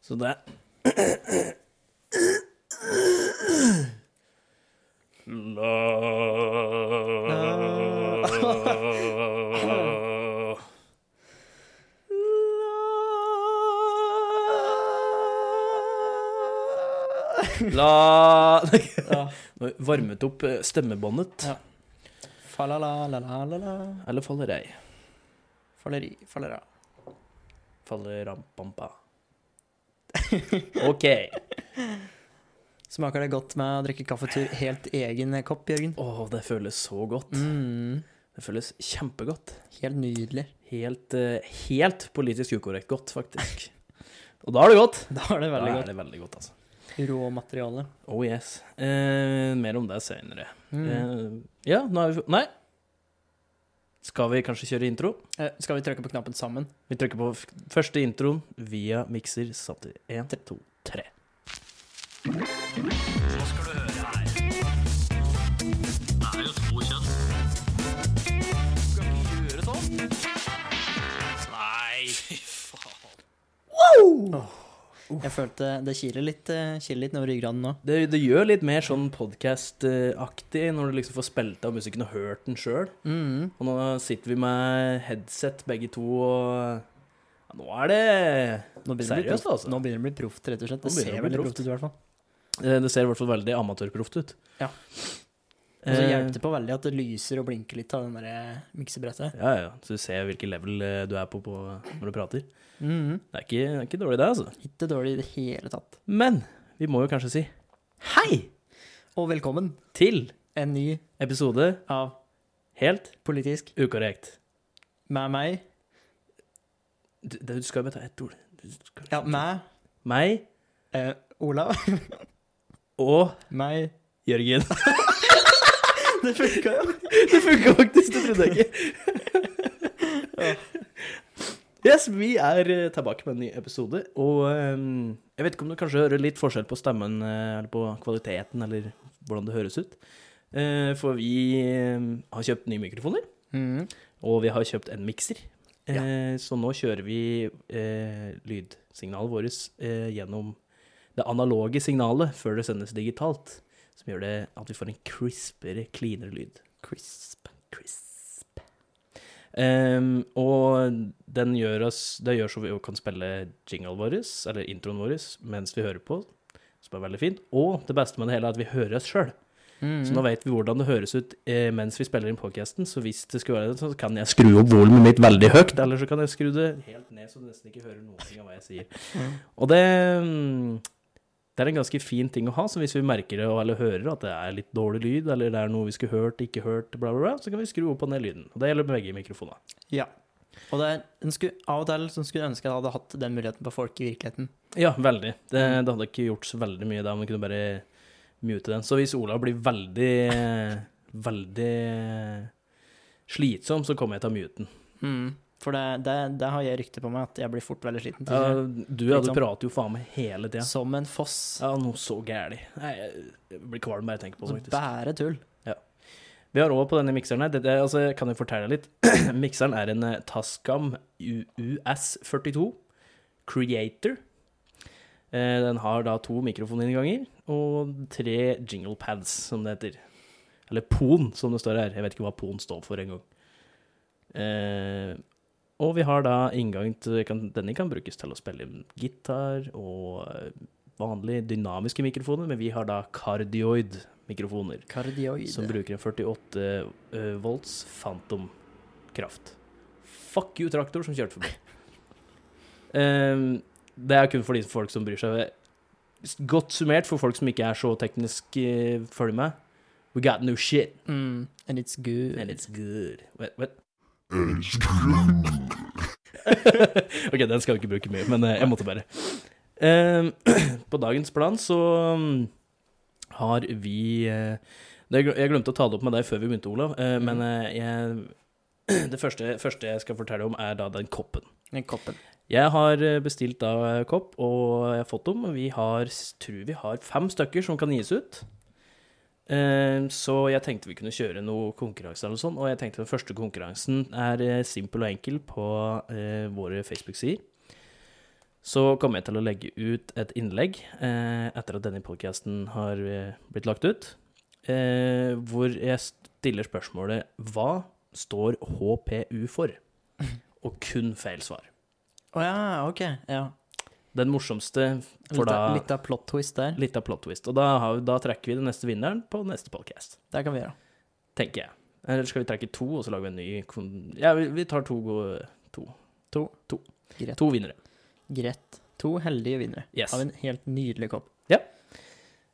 Så det La Ja. Varmet opp eh, stemmebåndet. Ja. Falala-la-la-la-la. Eller faller ei? Falleri, fallera. Faller rampampa. OK. Smaker det godt med å drikke kaffe til helt egen kopp, Jørgen? Å, det føles så godt. Mm, Det føles kjempegodt. helt nydelig. Helt, eh, helt politisk ukorrekt godt, faktisk. Og da er det godt. Da er det veldig da godt. er det veldig godt, altså. Råmateriale. Oh yes. Eh, mer om det seinere. Mm. Eh, ja, nå er vi Nei. Skal vi kanskje kjøre intro? Eh, Skal vi trykke på knappen sammen? Vi trykker på f første introen via mikser samtidig. Én, to, tre. Jeg følte det kiler litt, eh, kiler litt nedover ryggraden nå. Det, det gjør litt mer sånn podkast-aktig når du liksom får spilt av musikken og hørt den sjøl. Mm. Og nå sitter vi med headset begge to, og ja, nå er det Nå begynner det å bli Seriøst, proft, altså? Nå begynner det å bli proft, rett og slett. Nå Det begynner det å ser bli veldig proft. proft ut, i hvert fall. eh, Det ser i hvert fall veldig amatørproft ut. Eh, Ja. Altså, Og så hjelper det på veldig at det lyser og blinker litt av den der eh, miksebrettet. Ja, ja. Så du ser hvilket level eh, du er på, på når du prater. Mm. Det er ikke, det er ikke dårlig, det, altså. Ikke dårlig i det hele tatt. Men vi må jo kanskje si hei Og velkommen til en ny episode av Helt Politisk ukorrekt. med meg. Du, du skal jo bare ta ett ord. Du skal- Ja, meg. Meg Eh, Olav. og meg. Jørgen. Det funka jo. Det funka faktisk, det trodde jeg ikke. Yes, vi er eh, tilbake med en ny episode, og ehm, jeg vet ikke om du kanskje hører litt forskjell på stemmen, eh, eller på kvaliteten, eller hvordan det høres ut. Eh, for vi ehm, har kjøpt nye mikrofoner, Mm. og vi har kjøpt en mikser. Eh, Ja. Så nå kjører vi eh, lydsignalet vårt eh, gjennom det analoge signalet før det sendes digitalt, som gjør det at vi får en crispere, cleanere lyd. Crisp. Crisp. Ehm, og den gjør oss, det gjør så vi jo kan spille jinglen vår, eller introen vår, mens vi hører på, som er veldig fint. Og det beste med det hele er at vi hører oss sjøl. Mm. Så nå vet vi hvordan det høres ut eh, mens vi spiller inn podcasten, så hvis det skulle være det, så kan jeg skru opp volumet mitt veldig høyt, eller så kan jeg skru det helt ned så du nesten ikke hører noen ting av hva jeg sier. Mm. Og det, mm, det er en ganske fin ting å ha, så hvis vi merker det og- eller hører at det er litt dårlig lyd, eller det er noe vi skulle hørt, ikke hørt, bla bla bla, så kan vi skru opp og ned lyden. Og det gjelder begge mikrofoner. Ja. Og det er en skulle, av og til som skulle ønske jeg hadde hatt den muligheten på folk i virkeligheten. Ja, veldig. Det, det hadde ikke gjort så veldig mye da, om vi kunne bare mute den. Så hvis Ola blir veldig, eh, veldig slitsom, så kommer jeg til å mute den. Mm. For det, det, det har jeg rykte på meg at jeg blir fort veldig sliten. til Ja, slutt. du ja, du Liksom. prater jo faen meg hele tida. Som en foss. Ja, noe så gæli. Nei, Jeg blir kvalm bare jeg tenker på Så det. faktisk. bære tull. Vi har òg på denne mikseren her det, det, altså, Kan jeg fortelle deg litt? mikseren er en eh, Tascam US42 Creator. Eh, den har da to mikrofoninnganger og tre jingle pads, som det heter. Eller PON, som det står her. Jeg vet ikke hva PON står for engang. Eh, og vi har da inngang til kan, Denne kan brukes til å spille inn gitar og eh, vanlige dynamiske mikrofoner, men vi har da cardioid-mikrofoner Kardioide. som bruker en 48 eh, volts phantom-kraft. Fuck you, traktor som kjørte forbi. Ehm, det er kun for de folk som bryr seg. Godt summert for folk som ikke er så teknisk eh, følger med. We got new shit, mm. And it's good. and it's good. Wait, wait. ok, den skal vi ikke bruke mye, men eh, jeg måtte bare. Ehm, på dagens plan så mm, har vi eh, det, Jeg glemte å ta det opp med deg før vi begynte, Olav, eh, men eh, jeg, det første, første jeg skal fortelle om, er da den koppen. Den koppen. Jeg har eh, bestilt da eh, kopp, og jeg har fått dem. Vi har, s- tror vi har fem stykker som kan gis ut. Eh, Så jeg tenkte vi kunne kjøre noe konkurranse eller noe sånt, og jeg tenkte den første konkurransen er eh, simpel og enkel på eh, våre Facebook-sider. så kommer jeg til å legge ut et innlegg eh, etter at denne podcasten har eh, blitt lagt ut, eh, hvor jeg stiller spørsmålet Hva står HPU for? Og kun feil svar. Å ja, ok. Ja. Den morsomste For Litt, av, da- litt av plot twist der. litt av plot twist. Og da, har, da trekker vi den neste vinneren på neste podcast, Det kan vi gjøre. tenker jeg. Eller skal vi trekke to, og så lager vi en ny kon- Ja, vi, vi tar to gode To. To. To. Greit. To vinnere. Greit. To heldige vinnere Yes. av en helt nydelig kopp.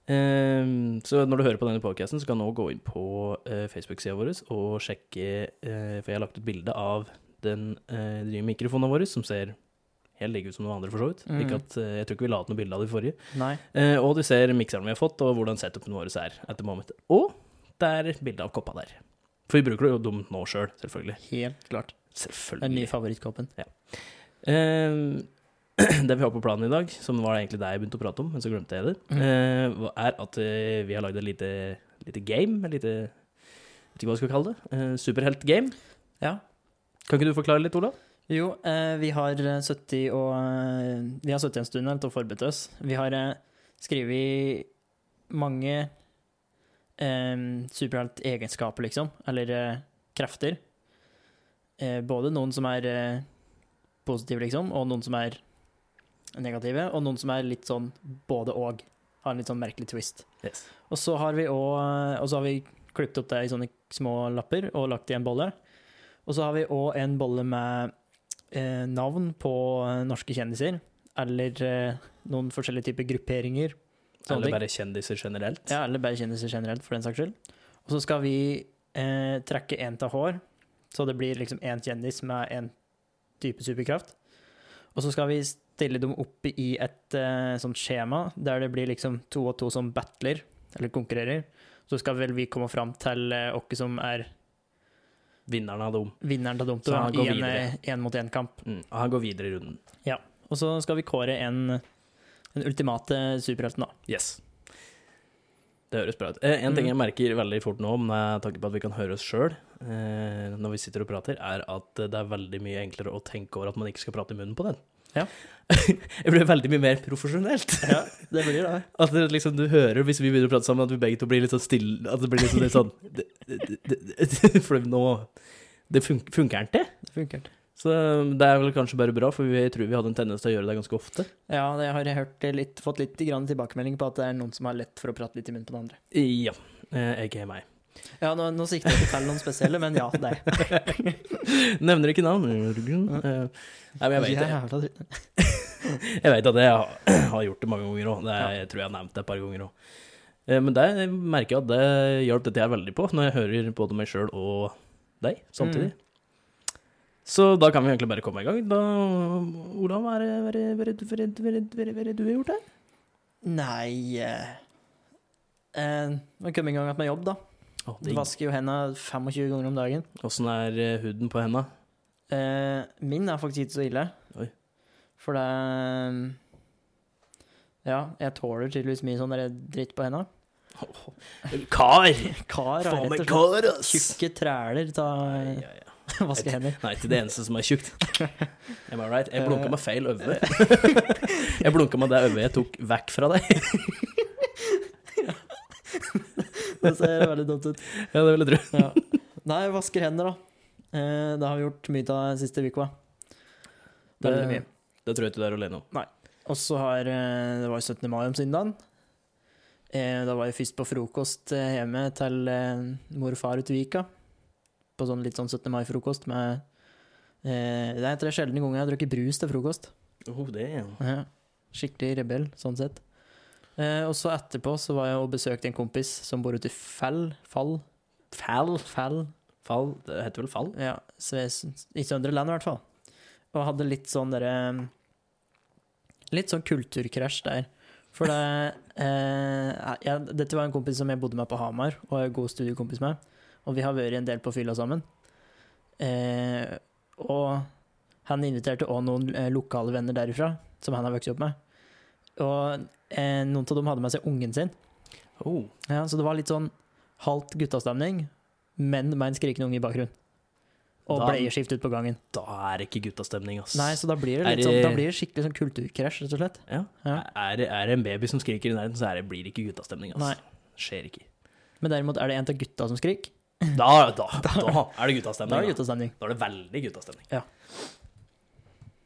Ehm, Så når du hører på denne podcasten, så kan du også gå inn på eh, Facebook-sida vår og sjekke eh, For jeg har lagt ut bilde av den eh, nye mikrofonen vår, som ser helt lik ut som noen andre, for så vidt. Mm. Ikke at, eh, jeg tror ikke vi la ut noe bilde av det i forrige. Nei. Eh, og du ser mikseren vi har fått, og hvordan setupen vår er etter momentet. Og det er bilde av koppa der. For vi bruker jo dem nå sjøl, selv, selvfølgelig. Helt klart. Den nye Selvfølgelig. favorittkoppen. Eh, det vi har på planen i dag, som var egentlig det jeg begynte å prate om, men så glemte jeg det, Mm. eh, hva- er at eh, vi har lagd et lite, lite game. Et lite Vet ikke hva jeg skal kalle det. Eh, Superhelt-game. Ja. Kan ikke du forklare litt, Olav? Jo, eh, vi har eh, sittet og eh, Vi har sittet en stund helt og forberedt oss. Vi har eh, skrevet mange eh, superheltegenskaper, liksom. Eller eh, krefter. Eh, både noen som er eh, positive, liksom, og noen som er negative. Og noen som er litt sånn både og. Har en litt sånn merkelig twist. Yes. Og så har vi også, eh, og så har vi klippet opp det i sånne små lapper og lagt i en bolle. Og så har vi òg en bolle med eh, navn på eh, norske kjendiser. Eller eh, noen forskjellige typer grupperinger. Sånne Eller ting. bare kjendiser generelt. Ja, eller bare kjendiser generelt, for den saks skyld. Og så skal vi eh, trekke én av hår, så det blir liksom én kjendis med én type superkraft. Og så skal vi stille dem opp i et eh, sånt skjema, der det blir liksom to og to som battler, eller konkurrerer. Så skal vel vi komme fram til eh, oss som er Vinneren av dem. vinneren av Så han Domto går i en videre. eh, en mot en kamp Mm. og Han går videre i runden. Og så skal vi kåre en den ultimate superhelten, da. Yes. Det høres bra ut. Eh, en ting jeg merker veldig fort nå, med tanke på at vi kan høre oss sjøl eh, når vi sitter og prater, er at det er veldig mye enklere å tenke over at man ikke skal prate i munnen på den. Ja. jeg blir veldig mye mer profesjonelt. Ja, det blir det. At det, liksom, du hører, hvis vi begynner å prate sammen, at vi begge to blir litt sånn stille. At det blir litt sånn, litt sånn det, det, det, det, For nå Det fun funker ikke. Det funker. Så det er vel kanskje bare bra, for vi jeg tror vi hadde en tendens til å gjøre det ganske ofte. Ja, det har jeg hørt litt, fått litt grann tilbakemelding på at det er noen som har lett for å prate litt i munnen på den andre. Ja. Eh, aka meg. Ja, nå, nå sikter jeg ikke til noen spesielle, men ja, deg. Nevner ikke navn. Eh, Nei, men jeg vet det. Jævla dritt. Jeg vet at jeg har- har gjort det mange ganger òg. Jeg tror jeg har nevnt det et par ganger òg. Men det merker jeg at det hjalp dette jeg veldig på, når jeg hører både meg sjøl og deg samtidig. Mm. Så da kan vi egentlig bare komme i gang. Da, Olav, hva er det- hva er det- hva er det- hva er det- hva er det- hva er det du har gjort her? Nei eh, eh, Man kommer i gang med jobb, da. Å, Du digg. vasker jo hendene 25 ganger om dagen. Åssen er eh, huden på henda? Eh, min er faktisk ikke så ille. Oi. For det Ja, jeg tåler tydeligvis mye sånn der dritt på hendene. Kar! Kar har Faen rett meg og slett kar, ass! tjukke træler Ja, av ja, ja. vaske hender. Nei, til det eneste som er tjukt. Am I right? Jeg blunka Eh. med feil øye. Jeg blunka med det øyet jeg tok vekk fra deg. Det ser veldig dumt ut. Ja, det vil jeg tro. Ja. Nei, jeg vasker hender, da. Eh, det har vi gjort mye av den siste uka. Veldig Det- mye. Det tror jeg ikke du er alene om. Og så har eh, Det var jo 17. mai om søndagen. Eh, da var jeg først på frokost eh, hjemme til eh, mor og far ute i Vika. På sånn litt sånn 17. mai-frokost med eh, Det er etter det sjeldne ganger jeg har drukket brus til frokost. Oh, det er Ja. Skikkelig rebell, sånn sett. Eh, og så etterpå så var jeg og besøkte en kompis som bor ute i Fell. Fall. Fall. Fell. Fall. Det heter vel fall? Ja, Sves, i Søndre Land i hvert fall. Og hadde litt sånn derre Litt sånn kulturkrasj der. For det eh, jeg, Dette var en kompis som jeg bodde med på Hamar, og er god studiekompis med. Og vi har vært en del på fylla sammen. Eh, og han inviterte òg noen eh, lokale venner derifra, som han har vokst opp med. Og eh, noen av dem hadde med seg ungen sin. Oh. Ja, så det var litt sånn halvt guttastemning, men med en skrikende unge i bakgrunnen. og Da- bleieskift ut på gangen. Da er det ikke guttastemning, ass. Nei, så da blir Er det litt det- sånn, da blir det skikkelig sånn kulturkrasj, rett og slett. ja. Ja. Er, det- er det en baby som skriker i nærheten, så er det, blir det ikke guttastemning, ass. Nei. Skjer ikke. Men derimot er det en av gutta som skriker. Da, da, da Da- er det Da er guttastemning. det Da. guttastemning. da er det veldig guttastemning. Ja.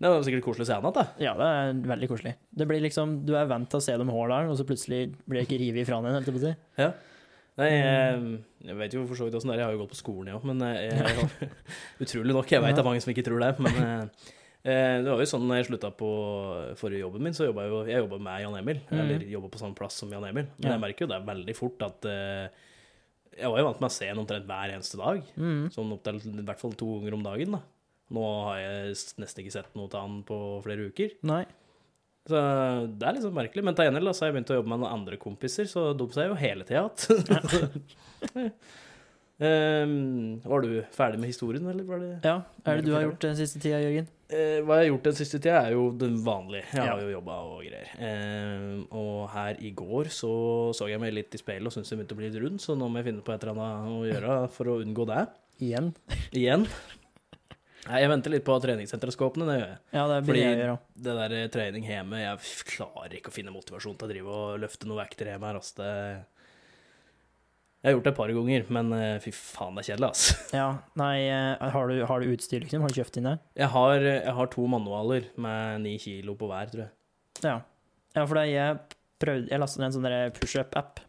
Det var sikkert koselig å se han igjen, da. Ja, det er veldig koselig. Det blir liksom, Du er vant til å se dem hår der, og så plutselig blir det ikke revet ifra den. Helt på å si. Nei, jeg, Mm. jeg vet jo for så vidt åssen det er, jeg har jo gått på skolen, jeg òg, men eh, jeg, jeg, utrolig nok. Jeg vet det er mange som ikke tror det, men eh, eh, det var jo sånn når jeg slutta på forrige jobben min, så jobba jeg jo jeg jobbet med Jan Emil, Mhm. eller jobba på samme plass som Jan Emil. Men Ja. jeg merker jo det veldig fort at eh, Jeg var jo vant med å se ham omtrent hver eneste dag, Mm. sånn opptil i hvert fall to ganger om dagen, da. Nå har jeg s- nesten ikke sett noe til han på flere uker. Nei. Så det er liksom merkelig. Men til gjengjeld da, så har jeg begynt å jobbe med noen andre kompiser, så de sier jo hele tida at Ehm, Var du ferdig med historien, eller var det Ja, Hva er Mer det du har fortell. gjort den siste tida, Jørgen? Eh, Hva jeg har gjort den siste tida, er jo den vanlige. Jeg har Ja. jo jobba og greier. Ehm, og her i går så så jeg meg litt i speilet og syntes jeg begynte å bli litt rund, så nå må jeg finne på et eller annet å gjøre for å unngå det Igjen? igjen. Nei, jeg venter litt på at treningssenteret skal åpne, det gjør jeg. Ja, det blir Fordi- det jeg gjør òg. det der eh, trening hjemme Jeg f- klarer ikke å finne motivasjon til å drive og løfte noen vekter hjemme her, ass. Det Jeg har gjort det et par ganger, men eh, fy faen, det er kjedelig, ass. Ja, nei, eh, har du, har du utstyr, liksom? Har du kjøpt inn det? Jeg har, jeg har to manualer med ni kilo på hver, tror jeg. Ja. ja, for da jeg prøvde Jeg lastet ned en sånn der pushup-app,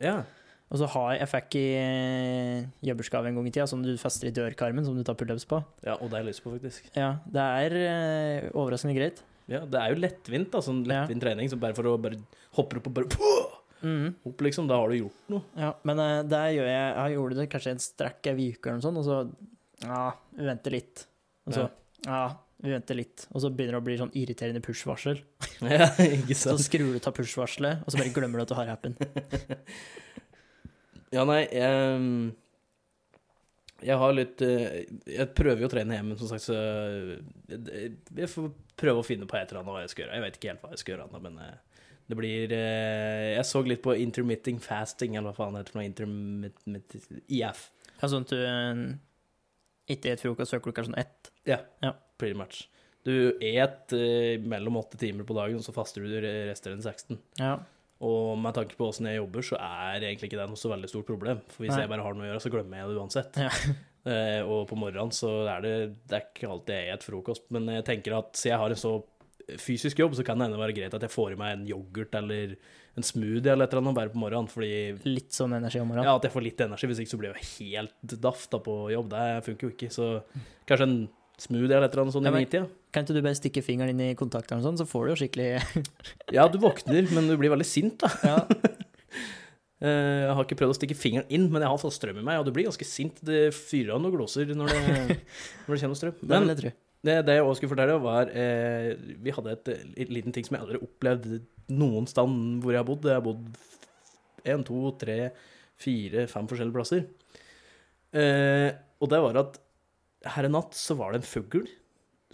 Ja. og så har jeg Jeg fikk i eh, jobbersgave en gang i tida, som du fester i dørkarmen, som du tar pullups på. ja, og det har jeg lyst på, faktisk. Ja, det er eh, overraskende greit. Ja, Det er jo lettvint, da. Sånn lettvint trening. Så bare for å bare hopper opp og bare puh, Mhm. opp, liksom. Da har du gjort noe. Ja, men eh, det gjør jeg Jeg gjorde det kanskje en strekk ei uke eller noe sånt, og så Ja, vi venter litt. Og så Ja. Ja, vi venter litt. Og så begynner det å bli sånn irriterende push-varsel. Ja, ikke Så sant? skrur du av push-varselet, og så bare glemmer du at du har appen. Ja, nei jeg, jeg har litt eh, Jeg prøver jo å trene hjemme, som sagt, så jeg, jeg får prøve å finne på et eller annet hva jeg skal gjøre. Jeg vet ikke helt hva jeg skal gjøre ennå, men eh, det blir eh, Jeg så litt på intermitting fasting, eller hva faen det heter for noe. Intermitt... IF, Ja, sånn at du eh, ikke spiser frokost før klokka er sånn ett. pretty much. Du et eh, mellom åtte timer på dagen, og så faster du resterende 16. Ja. Og med tanke på åssen jeg jobber, så er egentlig ikke det noe så veldig stort problem. For hvis Nei. jeg bare har noe å gjøre, så glemmer jeg det uansett. Ja. Eh, og på morgenen så er det Det er ikke alltid jeg spiser frokost, men jeg tenker at siden jeg har en så fysisk jobb, så kan det hende være greit at jeg får i meg en yoghurt eller en smoothie eller et eller annet bare på morgenen. Fordi Litt sånn energi om morgenen. ja, at jeg får litt energi, hvis ikke så blir jeg jo helt daff da på jobb. Det funker jo ikke. Så kanskje en smoothie eller et eller annet sånn Ja, i men- nitida. Kan ikke du bare stikke fingeren inn i kontakteren og sånn, så får du jo skikkelig Ja, du våkner, men du blir veldig sint, da. Ja, Eh, Jeg har ikke prøvd å stikke fingeren inn, men jeg har fått strøm i meg, og du blir ganske sint. Det fyrer av noen gloser når det, når det kommer strøm. det Men vil jeg tro. det, det jeg også skulle fortelle, var eh, Vi hadde et, et liten ting som jeg aldri opplevde noen stand hvor jeg har bodd. Jeg har bodd én, to, tre, fire, fem forskjellige plasser. Eh, og det var at her en natt så var det en fugl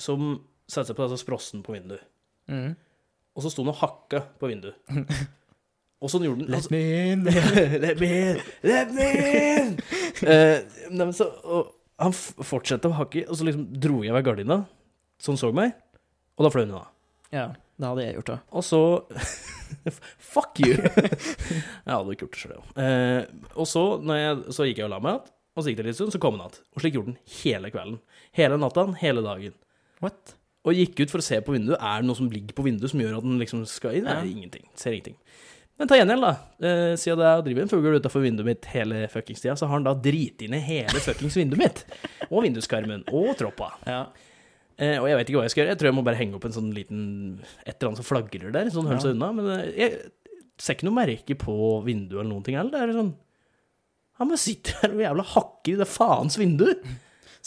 som satte seg på denne sprossen på vinduet. Mm. Og så sto den og hakka på vinduet. Og sånn gjorde den. altså- Let me in! Let me in! Let me in! Eh, nei, men så, og han f- fortsatte å hakke, og så liksom dro jeg ved gardina, så han så meg, og da fløy hun unna. Ja, det hadde jeg gjort òg. Og så Fuck you! jeg hadde ikke gjort det sjøl, jeg òg. Og så, når jeg, så gikk jeg og la meg igjen, og så gikk det litt stund, så kom han igjen. Og slik gjorde han hele kvelden. Hele natta, hele dagen. What? Og gikk ut for å se på vinduet. Er det noe som ligger på vinduet som gjør at den liksom skal inn? Nei, Ja. ingenting. Ser ingenting. Men ta gjengjeld, da. Eh, siden det er- driver en fugl utafor vinduet mitt hele fuckings tida, så har han da driti ned hele fuckings vinduet mitt. Og vinduskarmen. Og troppa. Ja. Eh, og jeg vet ikke hva jeg skal gjøre. Jeg tror jeg må bare henge opp en sånn liten Et eller annet som flagrer der, sånn holder Ja. seg unna. Men eh, jeg ser ikke noe merke på vinduet eller noen ting heller. Det er sånn Han bare sitter her og jævla hakker i det faens vinduet.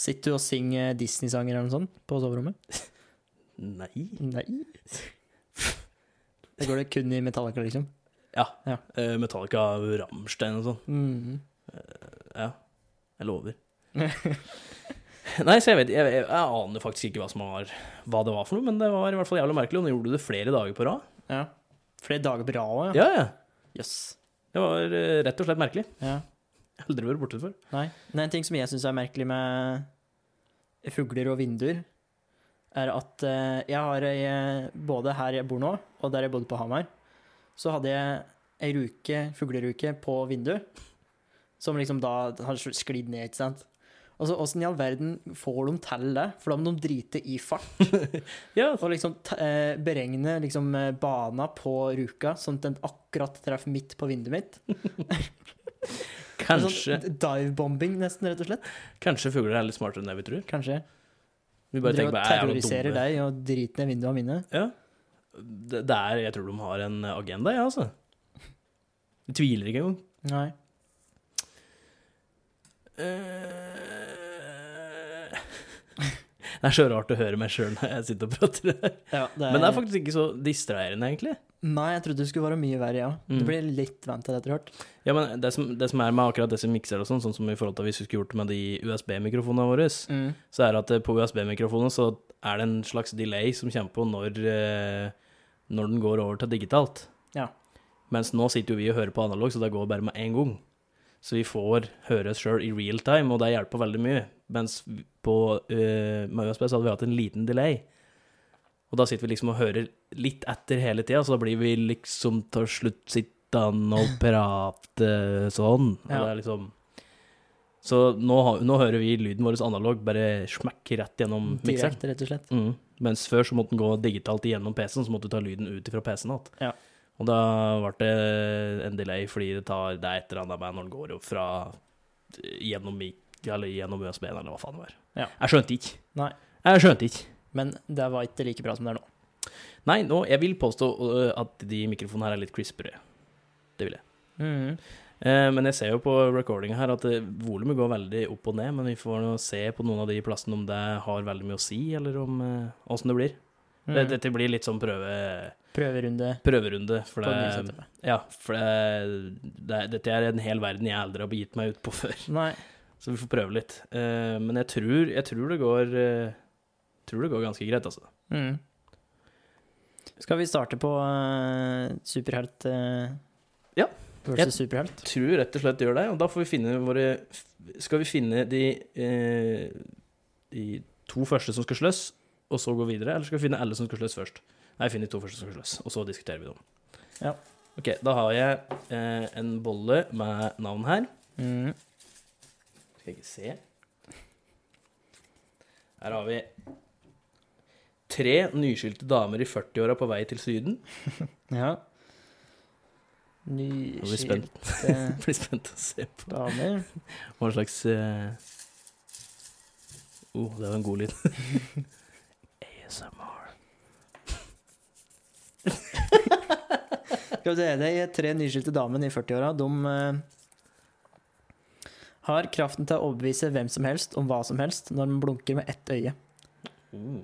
Sitter du og synger Disney-sanger eller noe sånt på soverommet? Nei. Nei. Det går det kun i Metallica, liksom. Eh, Metallica, Rammstein og sånn. Mm. Ja, jeg lover. Nei, så jeg vet jeg, jeg, jeg aner faktisk ikke hva, som var, hva det var for noe, men det var i hvert fall jævla merkelig, og nå gjorde du det flere dager på rad. Ja. Flere dager på rad òg, ja. Ja, ja. Jøss. Det var eh, rett og slett merkelig. Ja. Aldri vært borte før. Nei. Det er en ting som jeg syns er merkelig med fugler og vinduer, er at eh, jeg har ei, eh, både her jeg bor nå, og der jeg bodde på Hamar, så hadde jeg ei ruke, fugleruke, på vinduet, som liksom da har sklidd ned, ikke sant? Altså, åssen i all verden får de til det? For da må de drite i fart. Ja, Og liksom t eh, beregne liksom eh, bana på ruka, sånn at den akkurat treffer midt på vinduet mitt. kanskje, Sånn Divebombing, nesten, rett og slett. kanskje fugler er litt smartere enn det vi tror. Kanskje. Vi bare tenker Driver og bare, er de terroriserer dumme? deg og driter ned vinduene mine. Ja. Det, det er, jeg tror de har en agenda, jeg, ja, altså. Jeg tviler ikke engang. Nei. Eh, Det er så rart å høre meg sjøl når jeg sitter og prater. Ja, det er, Men det er faktisk ikke så distraherende, egentlig. Nei, jeg trodde det skulle være mye verre, ja. Mm. Du blir litt vant til det etter hvert. Ja, men det som, det som er med akkurat disse mikser og sånn, sånn som i forhold til hvis vi skulle gjort det med de USB-mikrofonene våre, Mm. så er det at eh, på USB-mikrofonen så er det en slags delay som kommer på når, eh, når den går over til digitalt. Ja. Mens nå sitter jo vi og hører på analog, så det går bare med én gang. Så vi får høre oss sjøl i real time, og det hjelper veldig mye. Mens på, eh, med USB så hadde vi hatt en liten delay. Og da sitter vi liksom og hører litt etter hele tida, så da blir vi liksom til slutt sittende og prate sånn. Og Ja. det er liksom Så nå, har- nå hører vi lyden vår analog bare smekk rett gjennom mikseren. Direkte, rett og slett. Mm. Mens før så måtte den gå digitalt igjennom PC-en, så måtte du ta lyden ut fra PC-en igjen. Ja. Og da ble det en delay, fordi det tar det er et eller annet med når den går opp fra eh, gjennom, mik- eller gjennom USB-en, eller hva faen det var. Ja. Jeg skjønte ikke. Nei. Jeg skjønte ikke. Men det var ikke like bra som det er nå. Nei, nå, jeg vil påstå øh, at de mikrofonene her er litt crispere. Det vil jeg. Mm. Eh, men jeg ser jo på recordinga her at eh, volumet går veldig opp og ned, men vi får nå se på noen av de plassene om det har veldig mye å si, eller om eh, åssen det blir. Mm. Det, dette blir litt sånn prøve... Prøverunde prøverunde. For på det nye det, setupet. ja, for det, det, dette er en hel verden jeg aldri har begitt meg ut på før. Nei. Så vi får prøve litt. Eh, men jeg tror, jeg tror det går eh, tror det går ganske greit, altså. Mm. Skal vi starte på eh, superhelt eh, Ja. versus superhelt? Tror rett og slett det gjør det. Og da får vi finne våre Skal vi finne de, eh, de to første som skal slåss, og så gå videre? Eller skal vi finne alle som skal slåss først? Nei, vi finner de to første som skal slåss, og så diskuterer vi dem. Ja. OK, da har jeg eh, en bolle med navn her. Mm. Skal jeg ikke se. Her har vi tre nyskilte damer i 40-åra på vei til Syden. Ja. Jeg blir spent, Nyskilte blir spent å se på damer. hva slags eh, oh, det var en god lyd. ASMR. Skal vi se, de tre nyskilte damene i 40-åra, de eh, har kraften til å overbevise hvem som helst om hva som helst når man blunker med ett øye. Oh.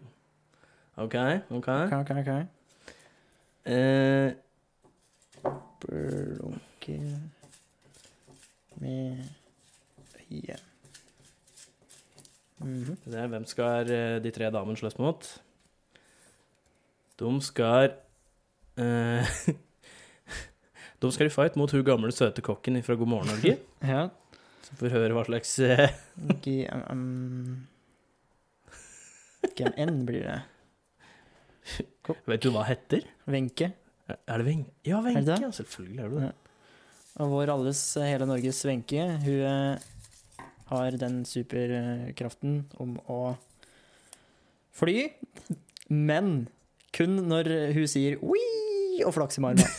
OK, OK. Ok, ok, ok. Eh, Blunke med øye. Mhm. det er, hvem skal eh, de tre damene slåss mot? De skal eh, De skal i fight mot hun gamle, søte kokken fra God morgen, Norge. Ja. Så får vi høre hva slags eh, G- um, Hvem enn blir det? Vet du hva det heter? Venke. Er- Er det Wenche? Ja, Wenche. Er det det? Ja, selvfølgelig er det det. Ja. Og vår alles, eh, hele Norges Wenche, hun eh, har den superkraften om å fly, men kun når hun sier «Wii!» og flakser med armen.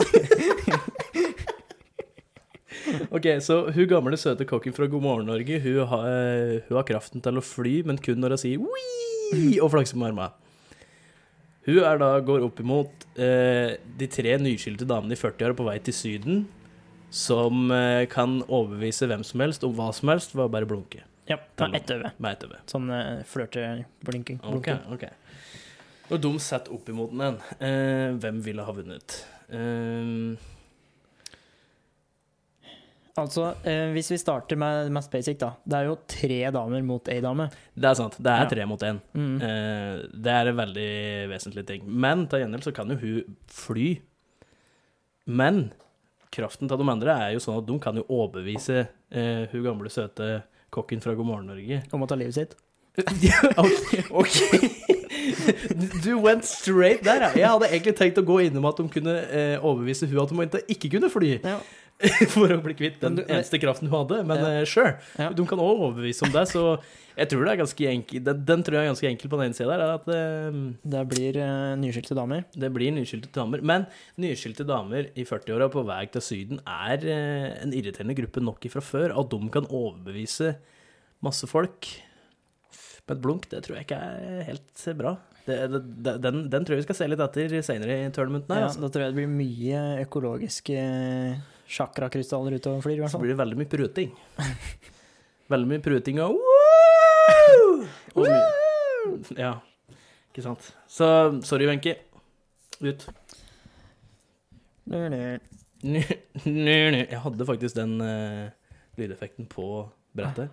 Ok, så hun gamle, søte kokken fra God morgen, Norge, hun har, eh, hun har kraften til å fly, men kun når hun sier «Wii!» og flakser med armene. Hun er da, går opp imot eh, de tre nyskilte damene i 40-åra på vei til Syden, som eh, kan overbevise hvem som helst om hva som helst ved å bare blunke Ja, ta ett øye. med et øye. Sånn eh, flørteblinking. Ok, blunking. ok. Og de setter opp imot den. Eh, hvem ville ha vunnet? Eh, Altså, eh, hvis vi starter med mest basic da, det er jo tre damer mot ei dame. det er sant. Det Ja. er tre mot én. Mm. Eh, det er en veldig vesentlig ting. Men til gjengjeld så kan jo hun fly. Men kraften til de andre er jo sånn at de kan jo overbevise eh, hun gamle, søte kokken fra God morgen, Norge Om å ta livet sitt. OK. Du went straight der, ja. Jeg hadde egentlig tenkt å gå innom at de kunne eh, overbevise hun at hun ikke- ikke kunne fly, Ja. for å bli kvitt den Men du- eneste kraften hun hadde, men Ja. eh, sure. Ja. De kan også overbevise om det, så jeg tror det er ganske enkel, den, den tror jeg er ganske enkel på den ene sida der, er at eh, Det blir eh, nyskilte damer. det blir nyskilte damer. Men nyskilte damer i 40-åra på vei til Syden er eh, en irriterende gruppe nok ifra før. At de kan overbevise masse folk med et blunk, det tror jeg ikke er helt bra. Det, det, det- den, den tror jeg vi skal se litt etter seinere i tournamenten her. ja, altså. Da tror jeg det blir mye økologiske sjakrakrystaller ute og flyr, i hvert Så fall. blir det veldig mye pruting. Veldig mye pruting og wow! Og mye- Ja, ikke sant. Så sorry, Wenche. Ut. Nu, nu, nu. Jeg hadde faktisk den eh, lydeffekten på brettet.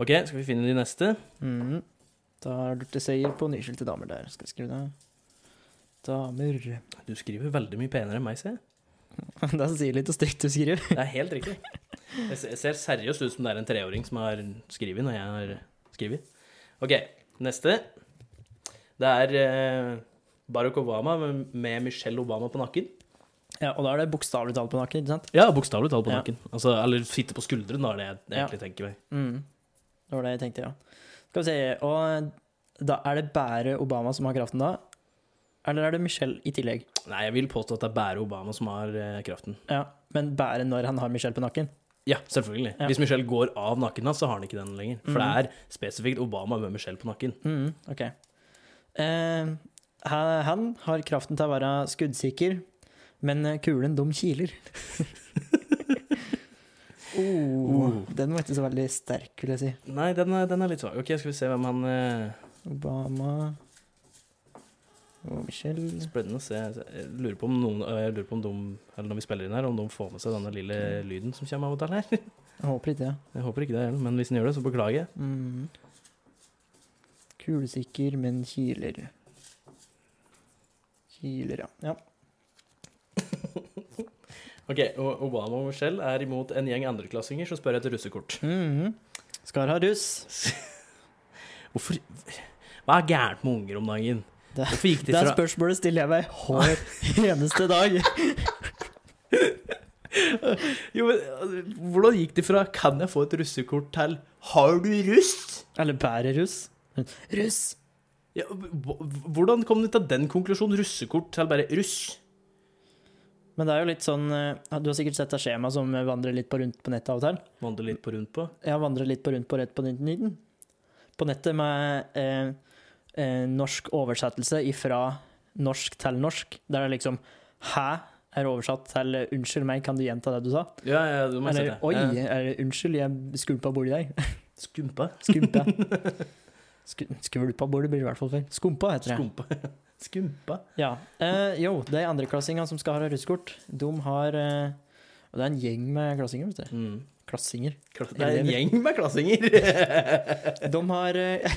OK, skal vi finne de neste? Mm. Da er det til seier på nyskilte damer der. Skal jeg skrive det? Damer Du skriver veldig mye penere enn meg, ser jeg. Det er litt og stygt du skriver. Det er helt riktig. Jeg ser- jeg ser seriøst ut som det er en treåring som har skrevet når jeg har skrevet. OK, neste. Det er eh, Barack Obama med- med Michelle Obama på nakken. Ja, og da er det bokstavelig talt på nakken, ikke sant? Ja, bokstavelig talt på Ja. nakken. Altså, eller sitte på skulderen, da, er det jeg egentlig tenker meg. Mm. Det var det jeg tenkte, ja. Skal vi se, og da er det bare Obama som har kraften da? Eller er det Michelle i tillegg? Nei, jeg vil påstå at det er bare Obama som har eh, kraften. Ja, men bare når han har Michelle på nakken? Ja, selvfølgelig. Ja. Hvis Michelle går av nakken hans, så har han ikke den lenger. For Mhm. det er spesifikt Obama med Michelle på nakken. Mm, ok. Eh, ha- han har kraften til å være skuddsikker, men eh, kulen dum kiler. oh, Den var ikke så veldig sterk, vil jeg si. Nei, den er, den er litt svak. Ok, skal vi se hvem han eh, Obama og Michelle Spennende å se. Jeg lurer på om noen eh, Jeg lurer på om de, eller når vi spiller inn her, om de får med seg denne lille lyden som kommer av og til her. Jeg håper ikke det. Jeg håper ikke det, men hvis den gjør det, så beklager jeg. Mm. Kulesikker, men kiler. Kiler, ja. ja. Ok, og Obama og Michelle er imot en gjeng andreklassinger som spør etter russekort. Mhm. Skal ha russ. Hvorfor Hva er gærent med unger om dagen? Det- Hvorfor gikk de Det er fra spørsmålet stiller jeg meg hver eneste dag. Jo, men altså, hvordan gikk de fra 'kan jeg få et russekort' til 'har du russ'? Eller bærer russ. Russ! Ja, hv- hv- hvordan kom du til den konklusjonen? Russekort til bare russ? Men det er jo litt sånn eh, Du har sikkert sett et skjema som vandrer litt på rundt på nettet av og til. Vandre litt på rundt på. Jeg vandrer litt på rundt på rett på nytten. På nettet med eh, eh, norsk oversettelse ifra norsk til norsk. Der det er liksom 'hæ' er oversatt til eh, 'unnskyld meg, kan du gjenta det du sa'? Ja, ja, du må jeg Eller sette. 'oi, Ja. eller, unnskyld, jeg skulpa bordet i deg'. Skumpa. Skumpa. Sku, skvulpa bordet blir det i hvert fall feil. Skumpa heter det. Skumpa. Skumpa. Ja. Eh, jo, de andreklassingene som skal ha russekort, de har eh, Og det er en gjeng med klassinger, vet du. Mm. Klassinger. Kla- Det er en Elever. gjeng med klassinger. De har eh,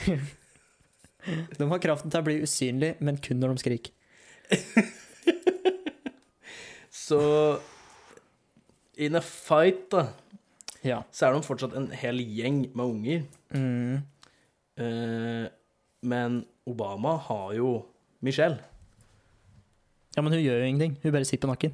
De har kraften til å bli usynlig, men kun når de skriker. Så in a fight, da, Ja. så er de fortsatt en hel gjeng med unger. Mm. Eh, Men Obama har jo Michelle. ja, men hun gjør jo ingenting. Hun bare sitter på nakken.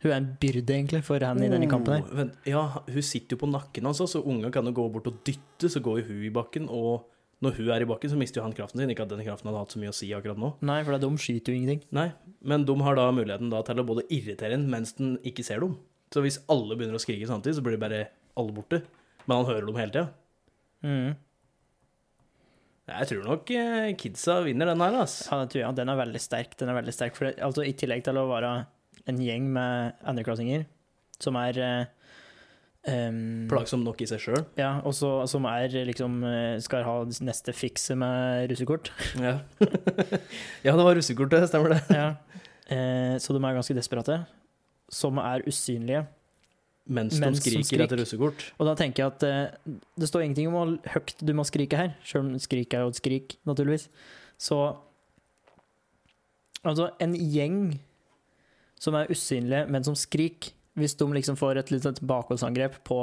Hun er en byrde, egentlig, for han i denne kampen her. Oh, vent, ja, hun sitter jo på nakken hans, så unga kan jo gå bort og dytte, så går jo hun i bakken, og når hun er i bakken, så mister jo han kraften sin. Ikke at den kraften hadde hatt så mye å si akkurat nå. Nei, for de skyter jo ingenting. Nei, men de har da muligheten da til å både irritere den mens den ikke ser dem. Så hvis alle begynner å skrike samtidig, så blir det bare alle borte. Men han hører dem hele tida. Mm. Jeg tror nok eh, kidsa vinner den her, ass. Ja, det tror jeg. Den er veldig sterk. Den er veldig sterk. For det, altså, I tillegg til å være en gjeng med andreklassinger som er eh, em, Plagsom nok i seg sjøl. Ja, og så- som er liksom eh, Skal ha neste fikse med russekort. Ja. ja, det var russekortet, stemmer det. Ja. Eh, så de er ganske desperate. Som er usynlige. Mens, Mens de de skriker skrik. etter russekort. Og da tenker jeg at eh, det står ingenting om hvor høyt du må skrike her, sjøl om skrik er jo et skrik, naturligvis. Så Altså, en gjeng som er usynlige, men som skriker, hvis de liksom får et lite bakholdsangrep på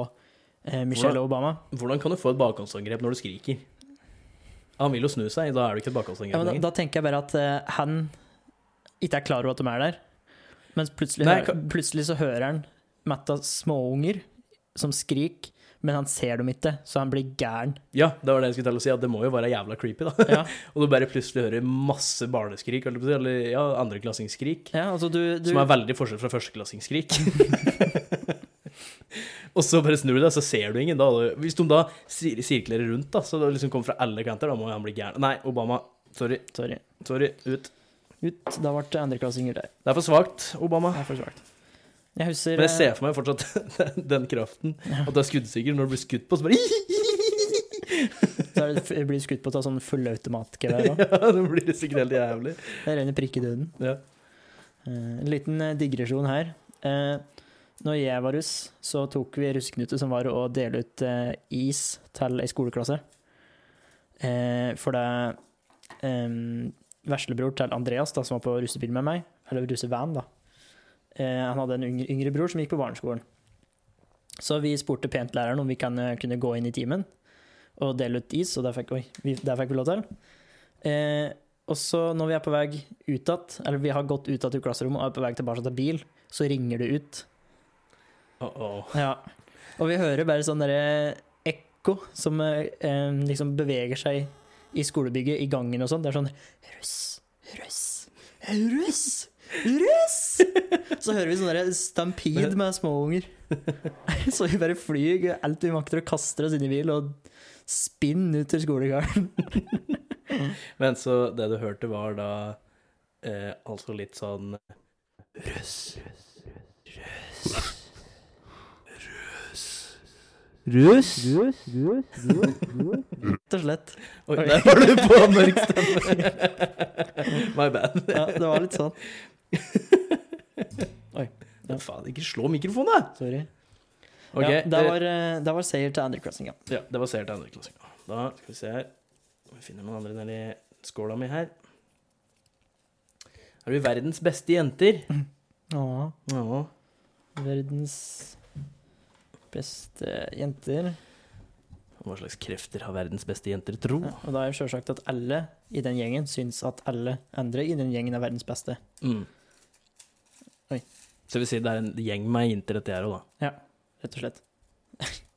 eh, Michelle Obama Hvordan kan du få et bakhåndsangrep når du skriker? Han vil jo snu seg, da er det ikke tilbakeholdslenger. Ja, men da, da tenker jeg bare at eh, han ikke er klar over at de er der, mens plutselig, Nei, hø- ka- plutselig så hører han Matta småunger som skrik, men han ser dem ikke, så han blir gæren. Ja, det var det jeg skulle til å si, at det må jo være jævla creepy, da. Ja, Og du bare plutselig hører masse barneskrik, holdt jeg på å si, eller ja, andreklassingsskrik, ja altså du, du som er veldig forskjell fra førsteklassingsskrik. og så bare snur du deg, så ser du ingen. Da. hadde- Hvis de da sir- sirkler rundt, da, så det liksom kommer fra alle kanter, da må han bli gæren. Nei, Obama. Sorry, Sorry. sorry, ut. Ut. Da ble det andreklassinger der. Det er for svakt, Obama. Det er for svakt. Jeg husker eh, Men jeg ser for meg fortsatt den kraften. At du er skuddsikker når du blir skutt på, så bare Så er det, jeg blir skutt på av sånn fullautomatgevær òg. Ja, det blir det sikkert helt jævlig. Det renner prikk i døden. Ja. Eh, en liten eh, digresjon her. Eh, når jeg var russ, så tok vi russeknute som var å dele ut eh, is til ei skoleklasse. Eh, for det eh, Veslebror til Andreas, da, som var på russebil med meg, eller russevan, da eh, Han hadde en yngre, yngre bror som gikk på barneskolen. Så vi spurte pent læreren om vi kan, eh, kunne gå inn i timen og dele ut is, og det fikk, oi, vi, det fikk vi lov til. Eh, og så når vi er på vei ut att, eller vi har gått ut att i klasserommet og er på vei tilbake til bil, så ringer det ut. Uh -oh. Ja. Og vi hører bare sånn derre ekko som eh, eh, liksom beveger seg i skolebygget, i gangen og sånn. Det er sånn russ, russ, russ, russ! Så hører vi sånn derre stampid med småunger. Så vi bare flyr alt vi makter og kaster oss inn i bil og spinner ut til skolegården. Men så det du hørte, var da eh, altså litt sånn Russ. Rus? Rus? Rus? Rett og slett. Oi, Oi. der var du på mørk stemme. My bad. Ja, det var litt sånn. Ja. Faen, ikke slå mikrofonen, da! Sorry. Ok, ja, det, var, eh, det var seier til andrecrossinga. ja, det var seer til andreklassinga. Da skal vi se her Vi finner noen andre nedi skåla mi her. Er du verdens beste jenter? Ja. Ja. Verdens beste jenter. Hva slags krefter har verdens beste jenter, tro? Ja, og da er jo sjølsagt at alle i den gjengen syns at alle andre i den gjengen er verdens beste. Mm. Oi. Så det vil si det er en gjeng med jenter, dette her òg, da. rett og slett.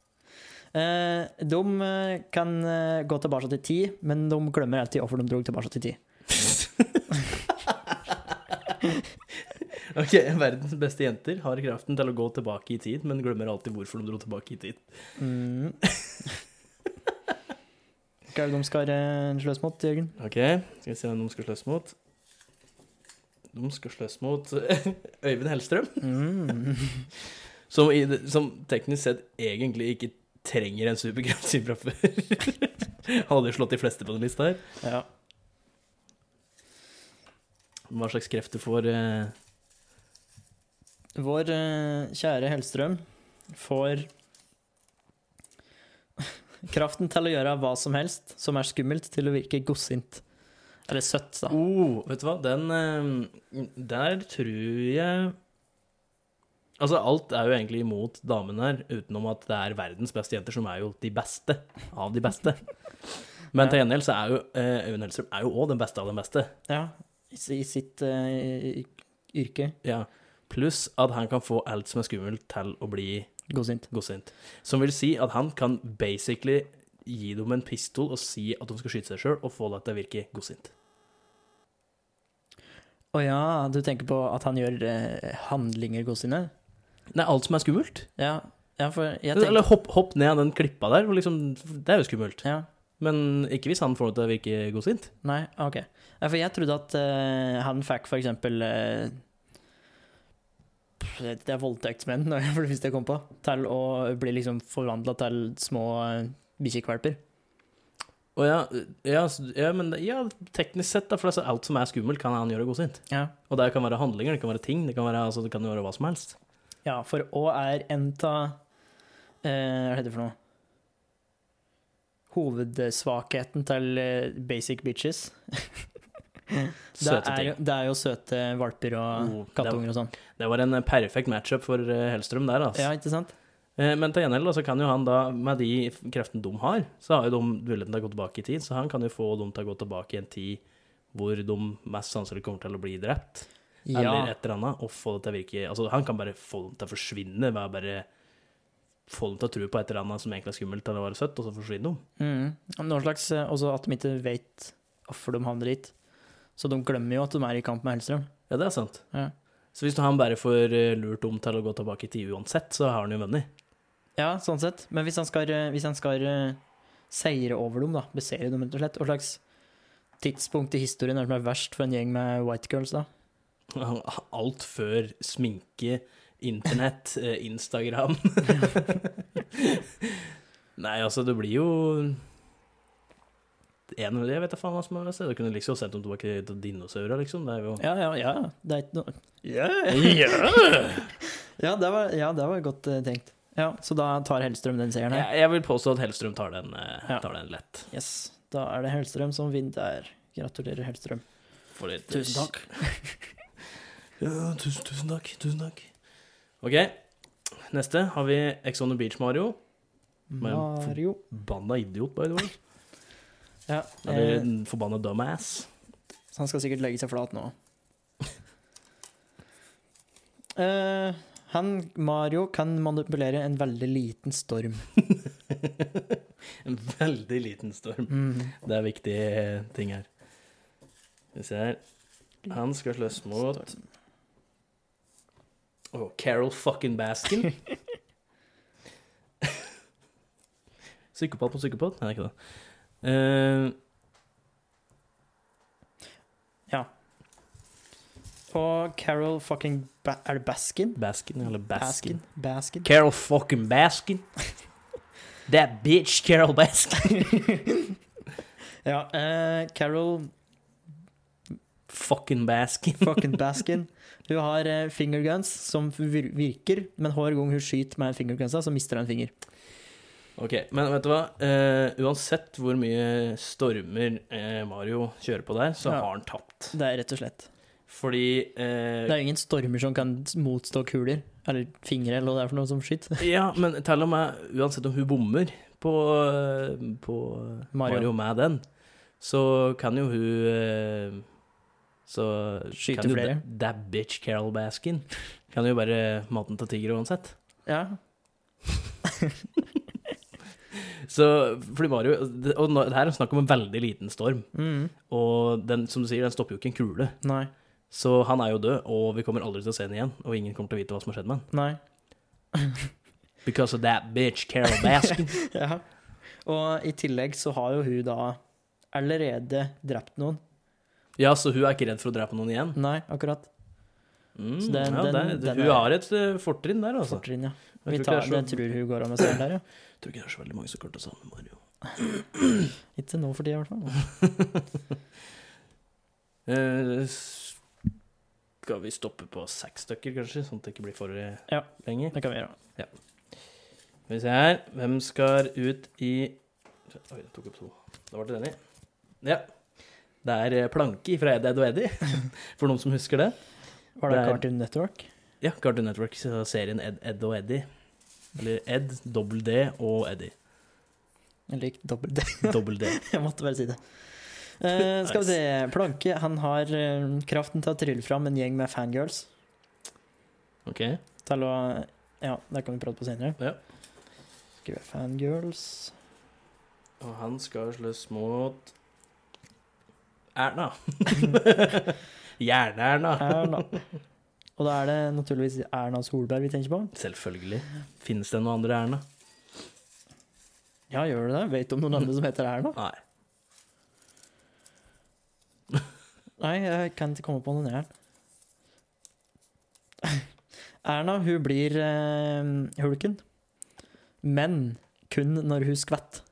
Eh, de eh, kan eh, gå tilbake til ti, men de glemmer alltid hvorfor de dro tilbake til ti. Ok, verdens beste jenter har kraften til å gå tilbake i tid, men glemmer alltid hvorfor de dro tilbake i tid. Mm. Hva er det de skal eh, slåss mot, Jørgen? Ok, skal vi se hvem de skal slåss mot. De skal slåss mot Øyvind Hellstrøm, Mm. som, i, det- som teknisk sett egentlig ikke trenger en superkraft sin fra før. Han hadde jo slått de fleste på den lista her. Ja. Hva slags krefter får eh, Vår eh, kjære Hellstrøm får kraften til å gjøre hva som helst som er skummelt, til å virke godsint. Eller søtt, da. Oh, vet du hva, den eh, Der tror jeg Altså, alt er jo egentlig imot damen her, utenom at det er verdens beste jenter som er jo de beste av de beste. Men til gjengjeld så er jo eh, Øyvind Hellstrøm er jo òg den beste av den beste. Ja, i, si- i sitt eh, i- yrke. Ja. Pluss at han kan få alt som er skummelt, til å bli Godsint. godsint. Som vil si at han kan basically gi dem en pistol og si at de skal skyte seg sjøl, og få det til å virke godsint. Å ja, du tenker på at han gjør eh, handlinger godsinte? Nei, alt som er skummelt. Ja, ja, for jeg Eller tenker hopp, hopp ned av den klippa der, og liksom, det er jo skummelt. ja, Men ikke hvis han får det til å virke godsint. Nei, OK. Ja, for jeg trodde at eh, han fikk for eksempel eh, Det er voldtektsmenn, det var det første jeg kom på. Til å bli liksom forvandla til små eh, bikkjekvalper. Og ja, ja, s- ja, men det- ja, teknisk sett, da, for altså, alt som er skummelt, kan han gjøre godsint. Ja. Og det kan være handlinger, det kan være ting, det kan, være, altså, det kan gjøre hva som helst. ja, for Å er en av Hva heter det for noe? Hovedsvakheten til eh, basic bitches. Det Søte er, jo, ting. det er jo søte valper og Oh, det- kattunger og sånn. Det var en perfekt matchup for eh, Hellstrøm der, altså. Ja, ikke sant? Eh, Men til gjengjeld da, så kan jo han da, med de kreftene de har, så har jo de muligheten til å gå tilbake i tid, så han kan jo få dem til å gå tilbake i en tid hvor de mest sannsynlig kommer til å bli drept, eller Ja. et eller annet, og få det til å virke Altså, han kan bare få dem til å forsvinne ved å bare få dem til å tro på et eller annet som egentlig er skummelt, eller være søtt, og så forsvinner de. Mm. Noen slags eh, Også at de ikke vet hvorfor de havner dit. Så de glemmer jo at de er i kamp med Hellstrøm. Ja, det er sant. Ja. Så hvis han bare får eh, lurt om til å gå tilbake i tid uansett, så har han jo vunnet. Ja, sånn sett. Men hvis han skal, eh, hvis han skal eh, seire over dem, da, beseire dem, rett og slett, hva slags tidspunkt i historien er det som er verst for en gjeng med white girls, da? Alt før sminke, internett, eh, Instagram Nei, altså, det blir jo en, Jeg vet da faen hva som er det. Du kunne liksom sendt dem tilbake til dinosaurer, liksom. Det er jo Ja, ja, ja. Det er ikke noe Ja, ja, det var, ja, det var godt eh, tenkt. Ja, så da tar Hellstrøm den seieren her. jeg, jeg vil påstå at Hellstrøm tar den, eh, Ja. tar den lett. Yes. Da er det Hellstrøm som vinner der. Gratulerer, Hellstrøm. For det- Tusen takk. Ja, tusen, tusen takk. Tusen takk. OK. Neste har vi Ex on the Beach Mario. Men- Mario. Banna idiot, by the way. Ja, Eller eh, en forbanna dumbass. så han skal sikkert legge seg flat nå. Eh, han, Mario, kan manipulere en veldig liten storm. En veldig liten storm. Mm. Det er viktige eh, ting her. Skal vi se her. Han skal slåss mot Åh, Oh, Carol fucking Baskin. psykopat på psykopat? Nei, det er ikke det. Eh, Og Carol fucking ba Er det Baskin? Baskin, eller Baskin. Baskin. Baskin. Carol fucking Baskin. That bitch Carol Baskin. Ja, eh, Carol fucking Baskin. fucking Baskin. Hun har eh, fingerguns som vir virker, men hver gang hun skyter med fingergunsa, så mister hun en finger. Ok, men vet du hva? Eh, uansett hvor mye stormer eh, Mario kjører på der, så Ja. har han tapt. Det er rett og slett. Fordi eh, Det er jo ingen stormer som kan motstå kuler, eller fingre, eller hva det er for noe som skyter. Ja, men til og med uansett om hun bommer på, på Mario. Mario. med den, så kan jo hun eh, Så Skyte kan jo flere. da- That bitch Carol Baskin kan jo bare maten til tiger uansett. Ja. Så fordi Mario Og nå- det her er snakk om en veldig liten storm, Mm. og den, som du sier, den stopper jo ikke en kule. Nei. Så han er jo død, og vi kommer aldri til å se han igjen, og ingen kommer til å vite hva som har skjedd med han. Nei. Because of that bitch Carol Baskin. ja. Og i tillegg så har jo hun da allerede drept noen. ja, så hun er ikke redd for å drepe noen igjen. Nei, akkurat. Mm, Så den- ja, den- der, den hun er- har et eh, fortrinn der, altså. Fortrinn, ja. Vi Jeg tror, tar, ikke det er det så, tror hun går av med seieren der, ja. jeg tror ikke det er så veldig mange som kommer til å savne Mario. Ikke nå for tida, i hvert fall. Eh, s- skal vi stoppe på seks stykker, kanskje? Sånn at det ikke blir for eh, Ja. lenge. Det kan vi gjøre. Skal vi se her. Hvem skal ut i Oi, jeg tok opp to. Da ble det enig. Ja. Det er eh, Planke fra Ed, Ed og Eddy, for noen som husker det. Var det Det er- Cartoon Network? Ja, Cartoon Network, så serien Ed, Ed og Eddy. Eller Ed, dobbel D og Eddy. Eller ikke dobbelt det? Dobbel D. Jeg måtte bare si det. Eh, skal vi se. Planke han har eh, kraften til å trylle fram en gjeng med fangirls. OK. Til å Ja, det kan vi prate på senere. Ja. Skriver jeg fangirls Og han skal slåss mot Erna. Jern-Erna. Erna. Og da er det naturligvis Erna Solberg vi tenker på. Selvfølgelig. Finnes det noen andre Erna? Ja, gjør du det? Vet du om noen andre som heter Erna? Nei. Nei, jeg kan ikke komme på noen her. Erna, hun blir eh, hulken. Men kun når hun skvett.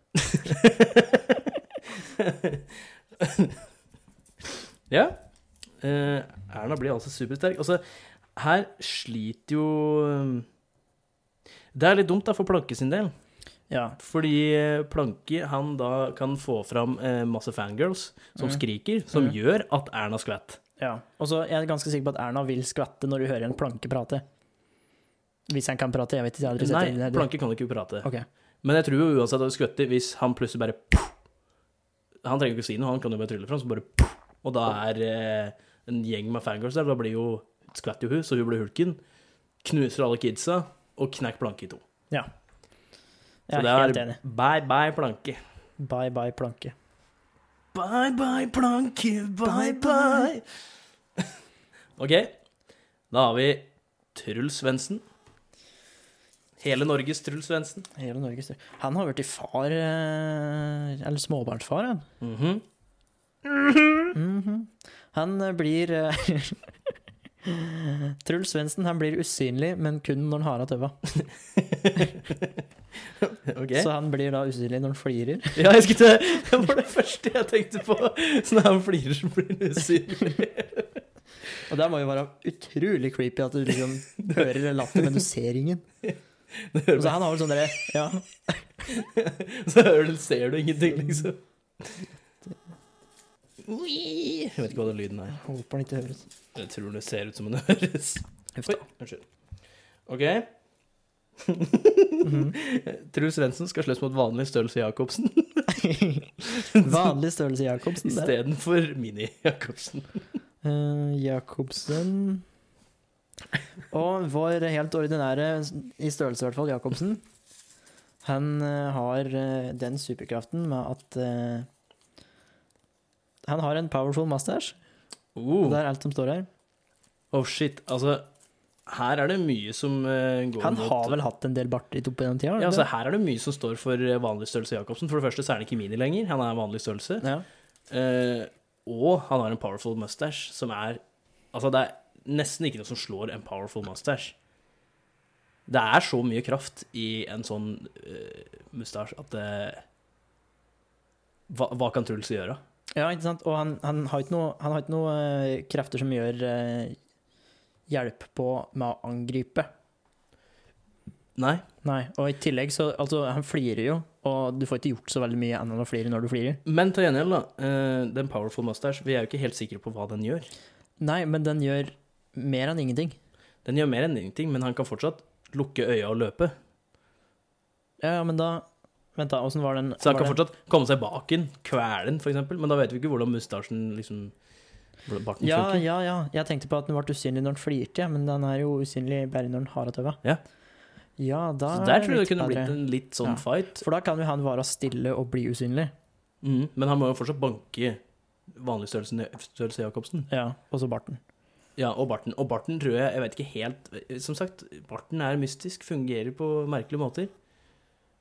ja. Eh, Erna blir altså supersterk. Altså, her sliter jo eh, Det er litt dumt da, for Planke sin del. Ja. Fordi eh, Planke han da kan få fram eh, masse fangirls som Mm. skriker, som Mm. gjør at Erna skvett. ja. Og så er jeg ganske sikker på at Erna vil skvette når hun hører en planke prate. Hvis han kan prate, jeg vet ikke. Jeg har aldri sett Nei, det. det. planke kan du ikke prate. Ok. Men jeg tror jo uansett at du skvetter, hvis han plutselig bare Han trenger ikke å si noe, han kan jo bare trylle fram, så bare Og da er eh, en gjeng med fangirls der, da blir jo skvetter jo hun, så hun blir hulken. Knuser alle kidsa, og knekk planke i to. Så Jeg det er er helt enig. bye bye planke. Bye bye planke. Bye bye planke, bye bye. OK, da har vi Truls Svendsen. Hele Norges Truls Svendsen. Hele Norges største. Han har blitt far, eh, eller småbarnsfar, han. Mhm. Mhm. Han eh, blir eh, Truls Svendsen han blir usynlig, men kun når han har av tøva. OK. Så han blir da usynlig når han flirer. Ja, jeg skulle til Det var det første jeg tenkte på. Så når han flirer, så blir han usynlig. Og det må jo være utrolig creepy at du liksom hører latter, men du ser ingen. Det Og hører så han har vel sånn derre ja. meg- Så hører du, ser du ingenting, liksom. Ui. Jeg vet ikke hva den lyden er. Jeg Håper han ikke høres. Jeg tror det ser ut som den høres. Huff Oi, unnskyld. OK. Mhm. Truls Svendsen skal slåss mot vanlig størrelse Jacobsen Vanlig størrelse Jacobsen. det. istedenfor Mini-Jacobsen. Eh, Jacobsen Og vår helt ordinære, i størrelse i hvert fall, Jacobsen. Han eh, har eh, den superkraften med at eh, Han har en powerful mustache. Og Oh. Det er alt som står her. oh shit, altså Her er det mye som eh, går Han mot har vel hatt en del barter i toppen den tida? har han Ja, ikke altså Her er det mye som står for eh, vanlig størrelse Jacobsen. For det første så er han ikke mini lenger, han er vanlig størrelse. det? ja. Eh, og han har en powerful mustache som er Altså, det er nesten ikke noe som slår en powerful mustache. Det er så mye kraft i en sånn uh, mustasje at det hva, hva kan Truls gjøre? ja, ikke sant? Og han, han har ikke noe- han har ikke noe eh, krefter som gjør eh, hjelp på med å angripe. Nei. Nei, og i tillegg så Altså, han flirer jo, og du får ikke gjort så veldig mye annet enn å flire når du flirer. Men til gjengjeld, da. eh, den powerful mustache, vi er jo ikke helt sikre på hva den gjør. Nei, men den gjør mer enn ingenting. Den gjør mer enn ingenting, men han kan fortsatt lukke øya og løpe. Ja, ja, men da Vent, da, åssen var den Så han var kan den- fortsatt komme seg bak den, kvele den, f.eks., men da vet vi ikke hvordan mustasjen liksom hvordan Barten ja, funker. ja, ja. Jeg tenkte på at den ble usynlig når den flirte, ja, men den er jo usynlig bare når den har av tøva. Ja. ja, da Så er der tror jeg det litt kunne bedre. blitt en litt sånn Ja. fight. For da kan jo han være stille og bli usynlig. Mm. Men han må jo fortsatt banke vanlig størrelse, størrelse Jacobsen. Ja, og så barten. Ja, og Barten. Og Barten tror jeg Jeg vet ikke helt Som sagt, Barten er mystisk, fungerer på merkelige måter.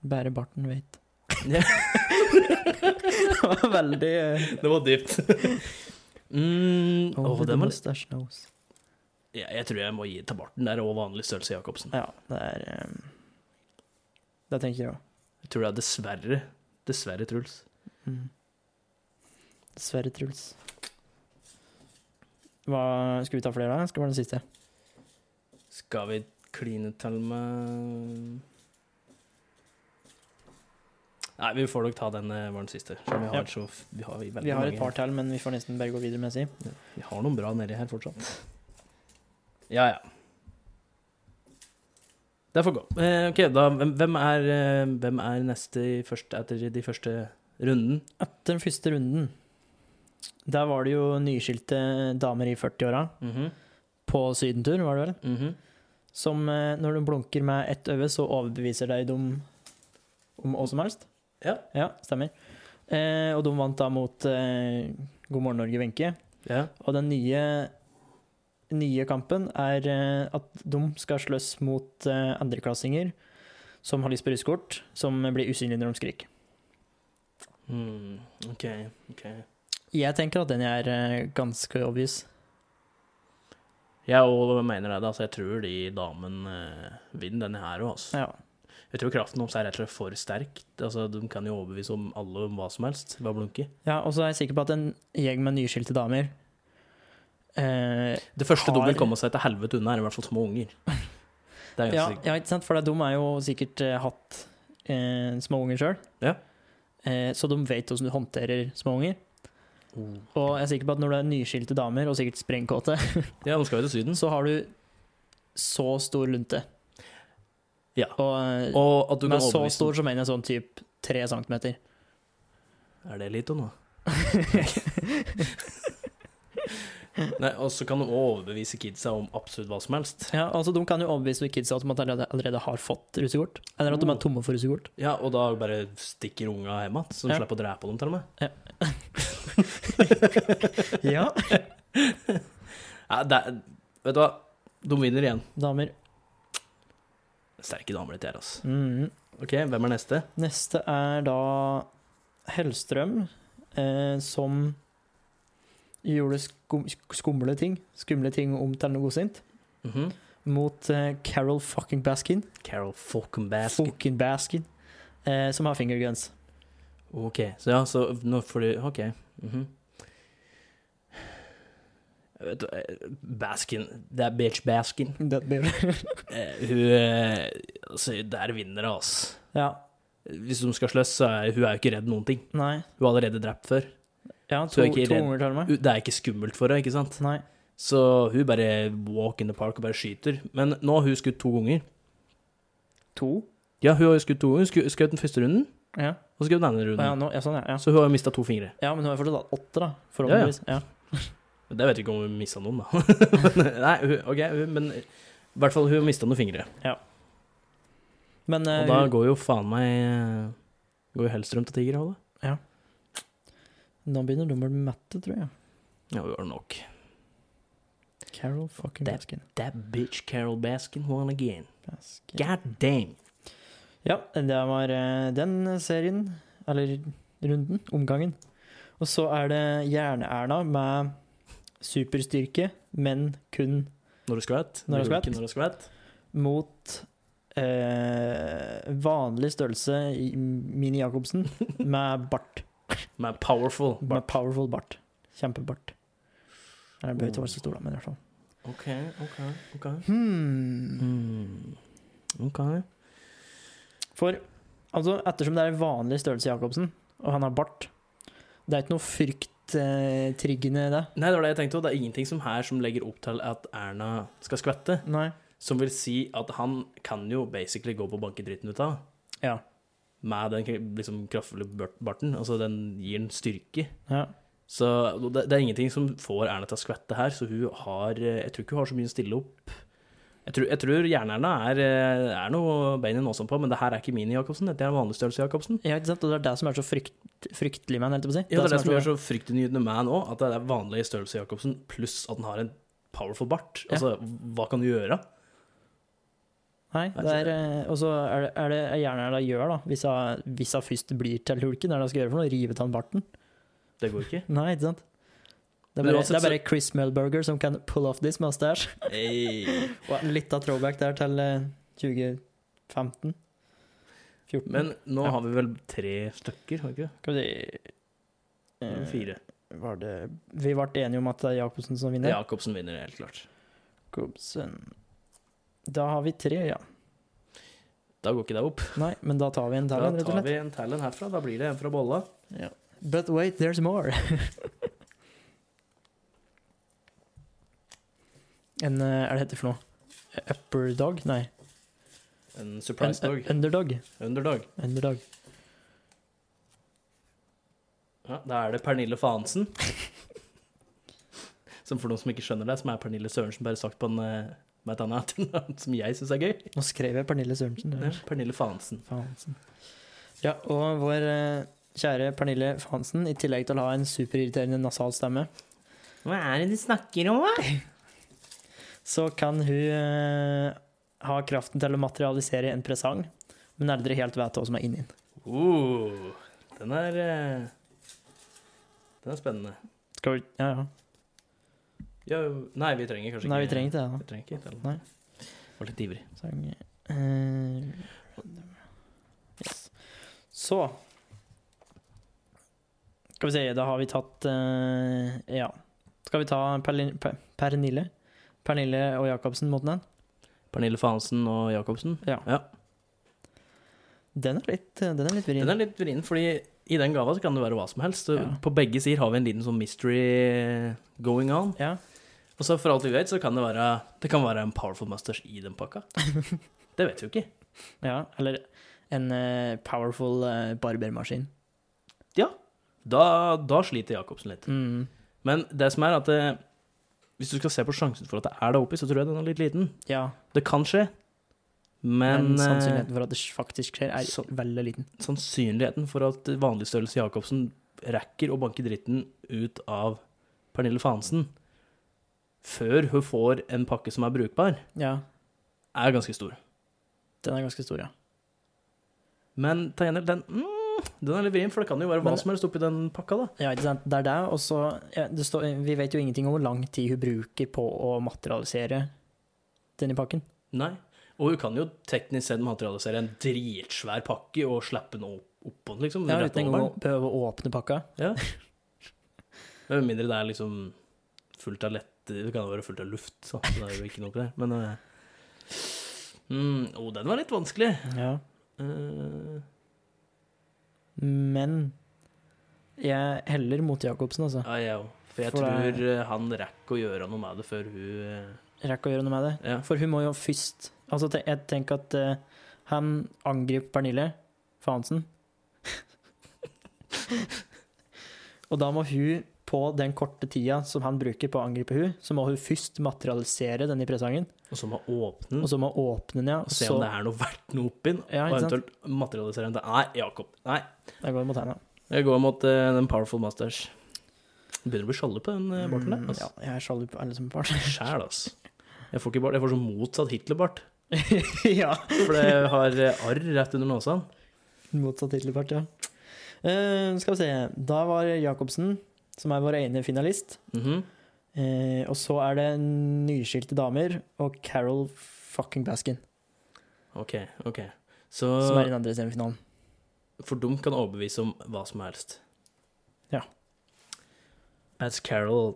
Bare barten vet. Ja. det var veldig eh, Det var dypt. mm, åh, Only the den var, mustache knows. ja, jeg tror jeg må gi til Barten der, og vanlig størrelse Jacobsen. Ja, det er eh, Det tenker jeg òg. Jeg tror det er dessverre Dessverre, Truls. Mm. Dessverre, Truls. Hva, skal vi ta flere, da? Skal det være den siste? Skal vi kline til med Nei, vi får nok ta den eh, var den siste. for Vi har, Ja. så, f- vi har, veldig Vi har mange et par til, men vi får nesten bare gå videre med å si. her. Vi har noen bra nedi her fortsatt. Ja, ja. Det får gå. Eh, ok, da, hvem, hvem, er, eh, hvem er neste i første, etter de første runden? Etter den første runden, der var det jo nyskilte damer i 40-åra, Mhm, på sydentur, var det vel, mhm. som eh, når de blunker med ett øye, så overbeviser de dem om hva som helst. Ja. Ja, stemmer. Eh, og de vant da mot eh, God morgen Norge, Wenche. ja. Og den nye, nye kampen er eh, at de skal slåss mot eh, andreklassinger som har lyst på russekort, som blir usynlige når de skriker. Hmm, ok, ok. Jeg tenker at den er eh, ganske obvious. Jeg òg mener det. Altså, jeg tror de damene eh, vinner denne her òg, altså. Ja. Jeg tror kraften deres er rett og slett for sterk. Altså, de kan jo overbevise om alle om hva som helst ved å blunke. ja, og så er jeg sikker på at en gjeng med nyskilte damer eh, Det første de Har- vil komme seg til helvete unna, er i hvert fall små unger. Det er ja, ganske sikkert. ja, ikke sant? For de har jo sikkert eh, hatt eh, småunger sjøl. Ja. Eh, så de vet hvordan du håndterer småunger. Og jeg er sikker på at når du er nyskilte damer, og sikkert sprengkåte, Ja, de skal jo til Syden. så har du så stor lunte. Ja. Og, Og at du men kan så overbevise stor så mener jeg sånn typ tre centimeter. Er det lite nå? Nei, og så kan du også overbevise kidsa om absolutt hva som helst. Ja, altså De kan jo overbevise kidsa om at de allerede, allerede har fått russekort, eller at de Oh. er tomme for russekort. Ja, og da bare stikker unga hjem igjen, så de Ja. slipper å drepe dem, til og med. Ja. Ja, det, er- vet du hva, de vinner igjen. Damer. Sterke damer, dette her, altså. Mm. OK, hvem er neste? Neste er da Hellstrøm, eh, som gjorde skum, skumle ting Skumle ting om Telne Godsint, Mhm. mot eh, Carol fucking Baskin. Carol fucking Baskin. Fucking Baskin. Eh, som har fingerguns. OK, så ja, så nå får du OK. mhm. Vet du, eh, Baskin Det er bitch Baskin. Det blir- Eh, hun eh, Altså, der vinner det, altså. ja. Hvis de skal slåss, så er hun er jo ikke redd noen ting. Nei. Hun er allerede drept før. Ja, Så to, er ikke to redd. unger tar meg. Hun- Det er ikke skummelt for henne, ikke sant? Nei. Så hun bare walk in the park og bare skyter. Men nå har hun skutt to ganger. To? Ja, hun har jo skutt to ganger. Hun sku- skjøt den første runden, Ja. og skjøt den andre Å, ja, runden. nå, ja sånn, ja. ja. Så hun har jo mista to fingre. Ja, men hun har fortsatt hatt åtte, da. Ja, ja. Forhåpentligvis. Ja, Det vet vi ikke om hun mista noen, da. Men, Nei, hun, ok, hun, men i hvert fall hun mista noen fingre. Men eh, Og da hun- går jo faen meg eh, Går jo Hellstrøm til Tigerhodet. nå begynner nummeret med Mette, tror jeg. Ja, hun gjør nok. Carol fucking Det- Baskin. That bitch Carol Baskin won again. Baskin. God damn. Ja, det var eh, den serien, eller runden, omgangen. Og så er det Jerne-Erna med superstyrke, men kun Når du skvett. Når hun gjorde skvatt. ikke Når du skvett. mot eh, vanlig størrelse i Mini Jacobsen med bart. Med powerful. Med powerful bart. Kjempebart. Nei, Den bør ikke være så stor, da, men i hvert fall. OK, OK, OK. Hmm. Hmm. OK. For altså, ettersom det er vanlig størrelse Jacobsen, og han har bart Det er ikke noe frykttryggende i det. Nei, det var det jeg tenkte også. Det er ingenting som her som legger opp til at Erna skal skvette. Nei. Som vil si at han kan jo basically gå på å banke dritten ut av. Ja. Med den kre- liksom kraftfulle bart- barten. Altså, den gir en styrke. Ja. Så det, det er ingenting som får Erna til å skvette her, så hun har eh, Jeg tror ikke hun har så mye å stille opp. Jeg tror, jeg tror Jern-Erna er, eh, er noe bein i nåsen på, men det her er ikke mini-Jacobsen. Dette er vanlig størrelse Jacobsen. Ja, ikke sant? Og det er det som er så frykt, fryktelig med han, holdt jeg på å si. Ja, det er det som gjør så så fryktinngytende med han òg, at det er vanlig størrelse Jacobsen, pluss at han har en powerful bart. Ja. Altså, hva kan du gjøre? Nei, det er eh, Og så er det, er det er gjerne det jeg gjør, da, hvis jeg, hvis jeg først blir til hulken, er det jeg skal gjøre for noe? Rive av han barten? Det går ikke. Nei, ikke sant? Det er Men bare, uansett det er bare Chris Melberger som kan pull off this mustache. Og en liten throwback der til eh, 2015. 14. Men nå Ja. har vi vel tre stykker, har vi ikke det? skal vi si Eller eh, Fire. Var det Vi ble enige om at det er Jacobsen som vinner? Jacobsen vinner, helt klart. Jacobsen Da har vi tre, ja. Da går ikke det opp. Nei, men da tar vi en Da talent, rett og tar slett. vi en talent herfra. Da blir det en fra bolla. But wait, there's more. en eh, Er det heter for noe? E-, Upper dog? Nei. En En, surprise en, eh, dog. underdog. Underdog. Underdog. Ja, da er det Pernille Fahansen. Som for noen som ikke skjønner det, som er Pernille Sørensen, bare sagt på en, eh, med et annet etternavn som jeg syns er gøy. Nå skrev jeg Pernille Sørensen. Ja, eller? Pernille Fahansen. Fahansen. Ja, og vår eh, kjære Pernille Fahansen, i tillegg til å ha en superirriterende nasal stemme, Hva er det du snakker om, da? så kan hun eh, ha kraften til å materialisere en presang, men aldri helt vet hva som er inni den. Uh, den er eh, Den er spennende. Skal vi Ja, ja. Ja, nei, vi trenger kanskje Nei, vi ikke trenger ikke det. da. Vi trenger ikke et eller Nei. annet. Var litt ivrig. Sang eh, yes. Så Skal vi se, da har vi tatt eh, Ja. Skal vi ta Perlin- Per- Pernille? Pernille og Jacobsen mot den? Pernille Fahansen og Jacobsen. Ja. Den er litt, den er litt vrien. Den er litt vrien, fordi i den gava så kan det være hva som helst. Så Ja. På begge sider har vi en liten sånn mystery going on. Ja. Og så for alt vi vet, så kan det være Det kan være en powerful mustache i den pakka. det vet vi jo ikke. Ja, eller en eh, powerful eh, barbermaskin. Da, da sliter Jacobsen litt. Mm. Men det som er at eh, hvis du skal se på sjansen for at det er der oppe, så tror jeg den er litt liten. Ja, Det kan skje, men, men, eh, sannsynligheten for at det faktisk skjer, er så- veldig liten. sannsynligheten for at vanlig størrelse Jacobsen rekker å banke dritten ut av Pernille Fansen før hun får en pakke som er brukbar, Ja, er ganske stor. den er ganske stor, ja. Men ta gjengjeld, den, mm, den er litt vrien, for det kan jo være hva Men- som helst oppi den pakka, da. Ja, ikke sant. Det er det, og så ja, det står, Vi vet jo ingenting om hvor lang tid hun bruker på å materialisere denne pakken. Nei. Og hun kan jo teknisk sett materialisere en dritsvær pakke og slappe den opp, oppå den, liksom. Ja, rett uten over engang den. å behøve å åpne pakka. Med mindre det er liksom fullt av lett Det kan jo være fullt av luft, så det er jo ikke noe oppi der. Men eh, mm, Å, den var litt vanskelig. Ja. Eh, Men jeg heller mot Jacobsen, altså. ja, jeg òg. For jeg For det- tror eh, han rekker å gjøre noe med det før hun eh, Rekker å gjøre noe med det. Ja. For hun må jo først Altså, te- jeg tenker at eh, han angriper Pernille Fahansen. og da må hun, på den korte tida som han bruker på å angripe hun, så må hun først materialisere denne presangen. Og så må hun åpne den Og så må hun åpne den, ja. og se om Mm. Sånn det er noe verdt noe oppi den. Ja, og ikke sant? eventuelt materialisere den til Nei, Jakob. Nei. Da går det mot henne. Jeg går mot eh, den Powerful Masters. Begynner å bli sjalu på den eh, barten der. Mm, Altså. Ja, jeg er sjalu på alle som har Sjæl, altså. Jeg får ikke bart, jeg får sånn motsatt Hitler-bart. bart. ja. For det har eh, arr rett under nåsene. Motsatt tittelpart, ja. Eh, skal vi se. Da var Jacobsen, som er vår ene finalist. Mhm. Eh, og så er det nyskilte damer og Carol fucking Baskin Ok, ok. Så som er i den andre semifinalen. For de kan overbevise om hva som helst. Ja. As Carol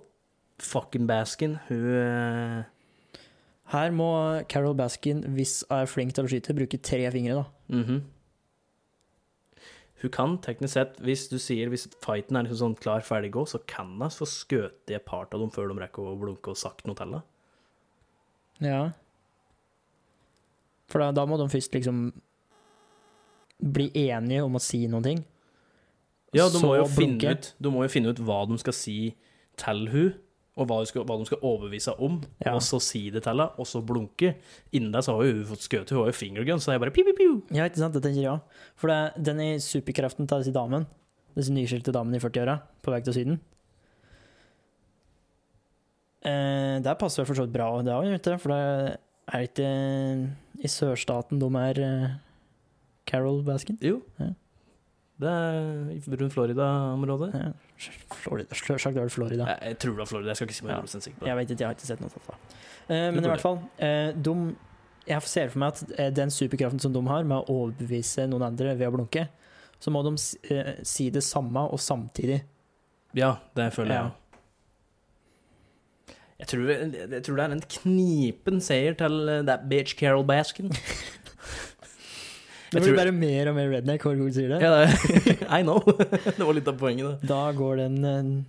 fucking Baskin, hun eh, Her må Carol Baskin, hvis hun er flink til å skyte, bruke tre fingre, da. mhm. Hun kan teknisk sett, hvis du sier hvis fighten er liksom sånn klar, ferdig, gå, så kan hun få skutt i et par av dem før de rekker å blunke og sagt noe til henne. Ja. For da, da må de først liksom bli enige om å si noen ting. Ja, de Så må, jo blunke. finne ut, de må jo finne ut hva de skal si til hun, og hva, hun skal, hva de skal overbevise henne om, Ja. og så si det til henne, og så blunke. Innen det så har jo hun fått skutt, hun har jo fingergun, så jeg bare piu, piu, piu. Ja, ikke sant? Det tenker jeg òg. For det, den i superkraften til disse damen, disse nyskilte damene i 40-åra, på vei til Syden eh, Der passer vel for så vidt bra, det òg, vet du. For det er det ikke i sørstaten de er eh, Carol Baskin? Jo. Ja. Det er rundt Florida-området. Ja. Florida, slør- sagt det var Florida. Jeg, jeg tror det var Florida, jeg skal ikke si meg Ja. 100 sikker på det. Jeg vet ikke, jeg har ikke sett noe sånt. da. Eh, men går i hvert fall, eh, de Jeg ser for meg at eh, den superkraften som de har, med å overbevise noen andre ved å blunke, så må de s- eh, si det samme og samtidig. Ja, det føler Ja. jeg. Jeg tror, jeg tror det er en knipen seier til eh, that bitch Carol Baskin. Det Jeg blir tror- bare mer og mer redneck hver gang du sier det. Ja, det, I know. det var litt av poenget, det. Da går den eh,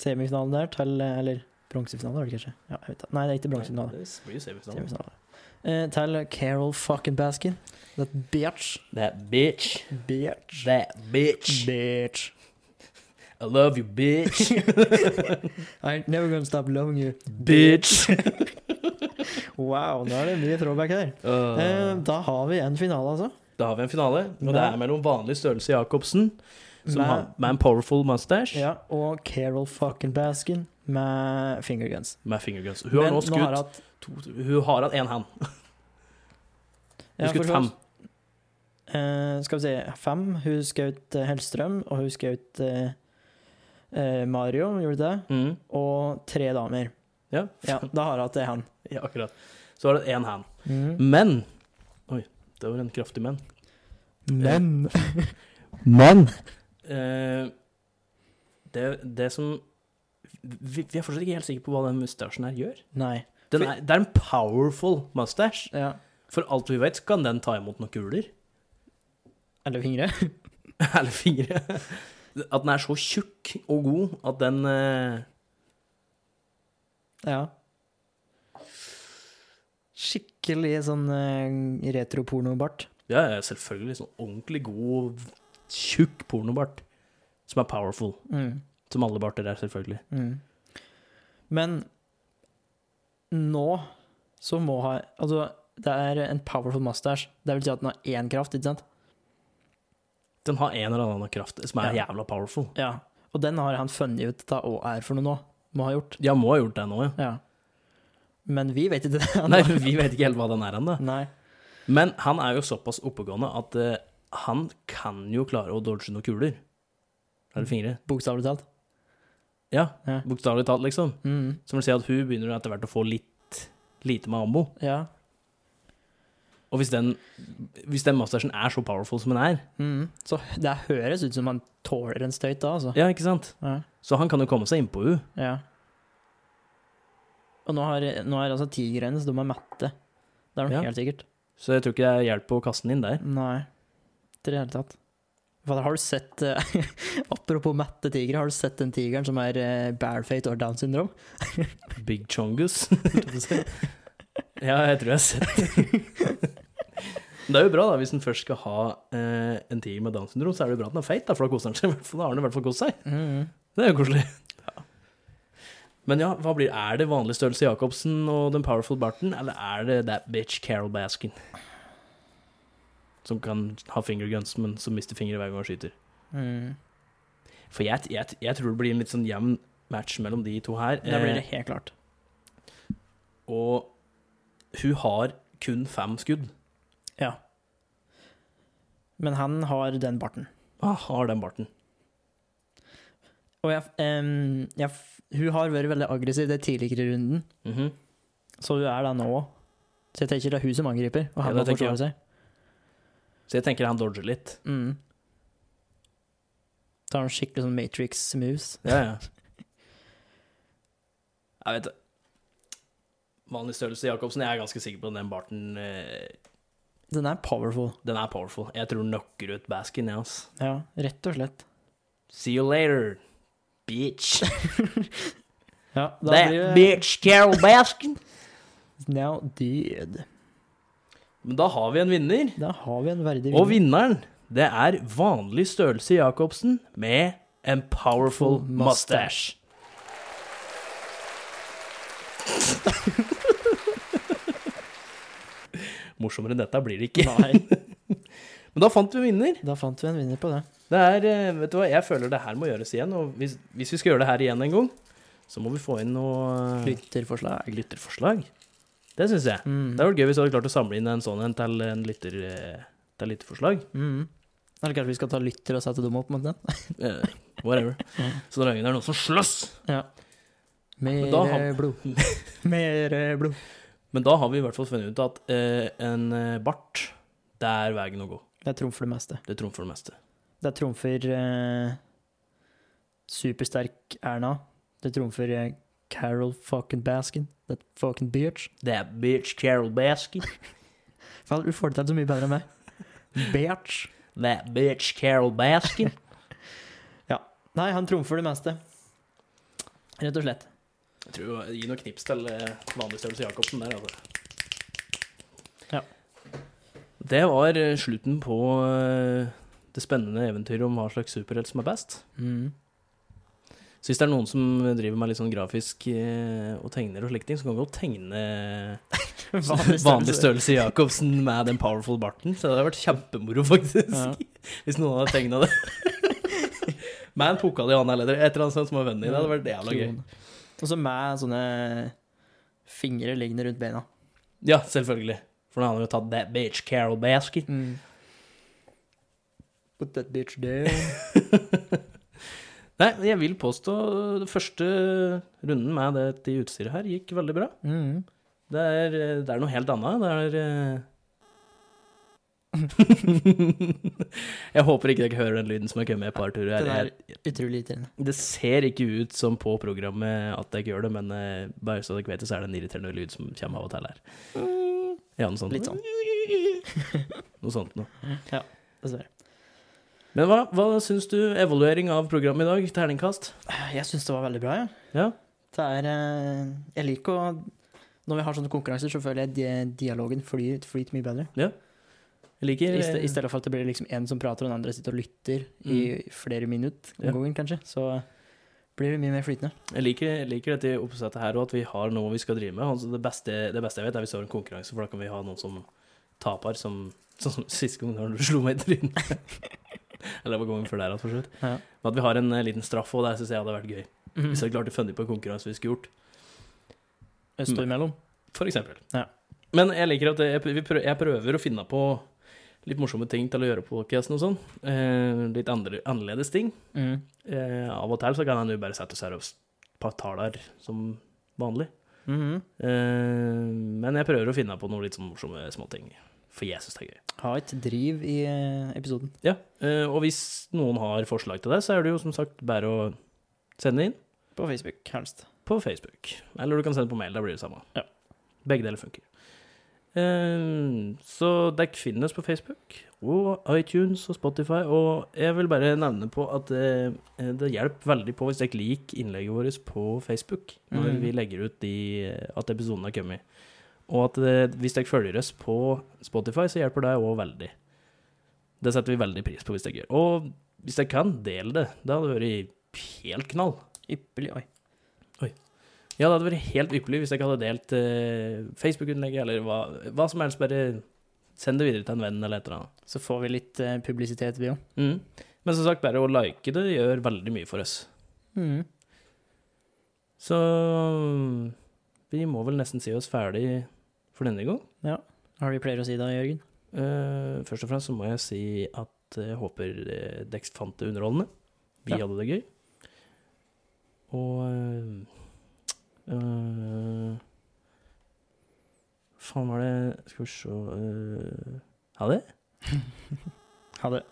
semifinalen der til eh, Eller bronsefinalen, var det kanskje? Ja, jeg vet det. Nei, det er ikke bronsefinale. Det blir jo semifinale. Semifinale. Eh, til Carol fucking Baskin. That bitch. That bitch. Bitch. That bitch. Bitch. I love you, bitch. I'm never gonna stop loving you. bitch. Wow, nå er det mye throwback her. Eh, da har vi en finale, altså. da har vi en finale, og det Nei. er mellom vanlig størrelse Jacobsen, som Med- har med en powerful mustache, Ja, og Carol fucking Baskin med fingerguns. med fingerguns. Hun har nå skutt har hatt- to, Hun har hatt én hand. Hun Ja, har skutt for så- fem. Eh, skal vi se, fem. Hun skjøt eh, Hellstrøm, og hun skjøt eh, eh, Mario, gjorde det. Mm. Og tre damer. Ja. Ja, da har hun hatt det, han. ja, akkurat. Så har det én hand. Mm. Men Oi, det var en kraftig men. Men Men Eh, det, det som vi, vi er fortsatt ikke helt sikre på hva den mustasjen her gjør. Nei. Den er, det er en powerful mustache. Ja. For alt vi vet, så kan den ta imot noen kuler. Eller fingre. Eller fingre. At den er så tjukk og god at den eh, Ja. skikkelig sånn eh, retropornobart. Ja, ja, selvfølgelig sånn ordentlig god, tjukk pornobart. Som er powerful. Mm. Som alle barter er, selvfølgelig. Mm. Men nå så må ha Altså, det er en powerful mustache. Det vil si at den har én kraft, ikke sant? Den har en eller annen kraft som er Ja. jævla powerful. Ja. Og den har han funnet ut hva er for noe nå. Må ha gjort. Ja, må ha gjort det nå, ja. Ja. Men vi vet ikke det. Nei, vi vet ikke helt hva den er ennå. Nei. Men han er jo såpass oppegående at eh, han kan jo klare å dodge noen kuler. Eller fingre. Bokstavelig talt. Ja, Ja. bokstavelig talt, liksom. Mm. Som vil si at hun begynner etter hvert å få litt lite med ammo. Ja. Og hvis den, hvis den mustachen er så powerful som den er, Mm. Så det høres ut som han tåler en støyt da, altså. ja, ikke sant? Ja. Så han kan jo komme seg innpå henne. Ja. Og nå har, nå er altså tigrene, så de er mette. Det er de Ja. helt sikkert. Så jeg tror ikke det hjelper å kaste den inn der. Nei, ikke i det hele tatt. Fader, har du sett eh, Apropos mette tigre, har du sett den tigeren som er uh, barefate og down syndrom? Big Chongus. ja, jeg tror jeg har sett det. er jo bra, da. Hvis en først skal ha eh, en tiger med Downs syndrom, så er det jo bra at den er feit, da, for da koser den seg. i hvert fall. Da har den i hvert fall kost seg. Mhm. Det er jo koselig. Men ja, hva blir, er det vanlig størrelse Jacobsen og den powerful Barton, eller er det that bitch Carol Baskin? Som kan ha fingerguns, men som mister fingre hver gang han skyter. Mm-hmm. Mhm. For jeg, jeg, jeg tror det blir en litt sånn jevn match mellom de to her. Det blir eh, det helt klart. Og hun har kun fem skudd. Ja. Men han har den barten. Ah, har den barten. Og jeg, em, jeg, f- hun har vært veldig aggressiv det tidligere i runden, Mhm. så hun er da nå òg. Så jeg tenker det er hun som angriper, og han Ja, må det tenker jeg. forsvare seg. Så jeg tenker han dodger litt. Mm. Da har han skikkelig sånn Matrix-moves. Ja, ja. Jeg vet det. Vanlig størrelse Jacobsen, jeg er ganske sikker på at den barten eh, Den er powerful. Den er powerful. Jeg tror den knocker ut Baskin, jeg, ass. Ja, rett og slett. See you later, bitch. Ja, da That blir det bitch Carol Baskin. Now dead. Men da har vi en vinner. Da har vi en verdig Og vinneren, det er vanlig størrelse Jacobsen med en powerful Full mustache. Morsommere enn dette blir det ikke. Nei, Men da fant vi en vinner. da fant vi en vinner på det. Det er, eh, vet du hva, Jeg føler det her må gjøres igjen. Og hvis, hvis vi skal gjøre det her igjen en gang, så må vi få inn noe eh, Lytterforslag. lytterforslag. Det syns jeg. Mm. Det hadde vært gøy hvis vi hadde klart å samle inn en sånn en til en lytter, eh, til lytterforslag. Mm. Eller kanskje vi skal ta lytter og sette dem opp mot den? Eh, whatever. Mm. Så da er det noen som slåss. Mer da har- eh, blod. Mer eh, blod. Men da har vi i hvert fall funnet ut at eh, en eh, bart, det er veien å gå. Det trumfer det meste. Det trumfer det meste. Det trumfer eh, supersterk Erna. Det trumfer eh, Carol fucking Baskin. That fucking bitch. That bitch Carol Baskin. Faen, du får det til så mye bedre enn meg. Bitch. That bitch Carol Baskin. Nei, han trumfer det meste. Rett og slett. Jeg tror, Gi noen knips til eh, vanlig størrelse Jacobsen der, altså. Ja. Det var eh, slutten på eh, det spennende eventyret om hva slags superhelt som er best. Mm. Så hvis det er noen som driver med litt sånn grafisk eh, og tegner og slike ting, så kan vi godt tegne vanlig størrelse, Jacobsen med den powerful barten. Så det hadde vært kjempemoro, faktisk. Ja. Hvis noen hadde tegna det. med en pokal i hånda eller et eller annet sånt som var vennen i det. hadde vært jævla gøy. Klone. Og så med sånne fingre liggende rundt beina. Ja, selvfølgelig. For nå hadde han jo tatt that bitch Carol Baskin. Mm. Put that bitch down. Nei, men jeg vil påstå den første runden med dette utstyret her gikk veldig bra. Mm. Det er, eh, det er noe helt annet. Det er eh, Jeg håper ikke dere hører den lyden som har kommet et par turer. Den her. er utrolig irriterende. Det ser ikke ut som på programmet at jeg ikke gjør det, men eh, bare så dere vet det, så er det en irriterende lyd som kommer av og til her. Ja, noe sånt. Litt sånn. Noe sånt noe. Dessverre. Men hva, hva syns du? Evaluering av programmet i dag? Terningkast? Jeg syns det var veldig bra, jeg. Ja. Det er eh, Jeg liker å Når vi har sånne konkurranser, så føler jeg di- dialogen flyr, flyter mye bedre. Jeg liker eh, I, ste, I stedet for at det blir liksom en som prater, og den andre sitter og lytter i flere minutter om Mm. Ja. gangen, kanskje. Så blir det mye mer flytende. Jeg liker, jeg liker dette oppsettet her, og at vi har noe vi skal drive med. Altså, det, beste, det beste jeg vet, er hvis vi har en konkurranse, for da kan vi ha noen som taper, som, sånn som sist gang når du slo meg i trynet. Eller det var gangen før der, altså, for så vidt. Ja. Men at vi har en eh, liten straff, og det syns jeg hadde vært gøy. Mhm. Hvis vi hadde klart å funne på en konkurranse vi skulle gjort, Øst og imellom. for eksempel. Ja. Men jeg liker at jeg, vi prøver, jeg prøver å finne på litt morsomme ting til å gjøre på podcasten og sånn. Eh, litt andre, annerledes ting. Mm. Eh, av og til så kan han jo bare sette oss her og s- pa- taler som vanlig. Mhm. Eh, men jeg prøver å finne på noe litt sånn morsomme småting. For jeg syns det er gøy. Ha et driv i eh, episoden. Ja, eh, Og hvis noen har forslag til det, så er det jo som sagt bare å sende inn På Facebook, helst. på Facebook. Eller du kan sende på mail. Da blir det samme. Ja. Begge deler funker. Eh, så dekk finnes på Facebook og iTunes og Spotify. Og jeg vil bare nevne på at eh, det hjelper veldig på hvis dere liker innlegget vårt på Facebook når Mhm. vi legger ut de, eh, at episoden har kommet. Og at eh, hvis dere følger oss på Spotify, så hjelper det òg veldig. Det setter vi veldig pris på hvis dere gjør. Og hvis dere kan, del det. Det hadde vært helt knall. Ypperlig. Oi. Ja, det hadde vært helt ypperlig hvis jeg ikke hadde delt eh, Facebook-innlegget eller hva, hva som helst. Bare send det videre til en venn eller et eller annet. Så får vi litt eh, publisitet, vi òg. Mm. Men som sagt, bare å like det gjør veldig mye for oss. Så vi må vel nesten si oss ferdig for denne gang. Har du pleier å si da, Jørgen? Eh, først og fremst så må jeg si at jeg håper uh, Dex fant det underholdende. Vi Ja. hadde det gøy. Og eh, eh, Faen, var det Skal vi se eh, Ha det? Ha det.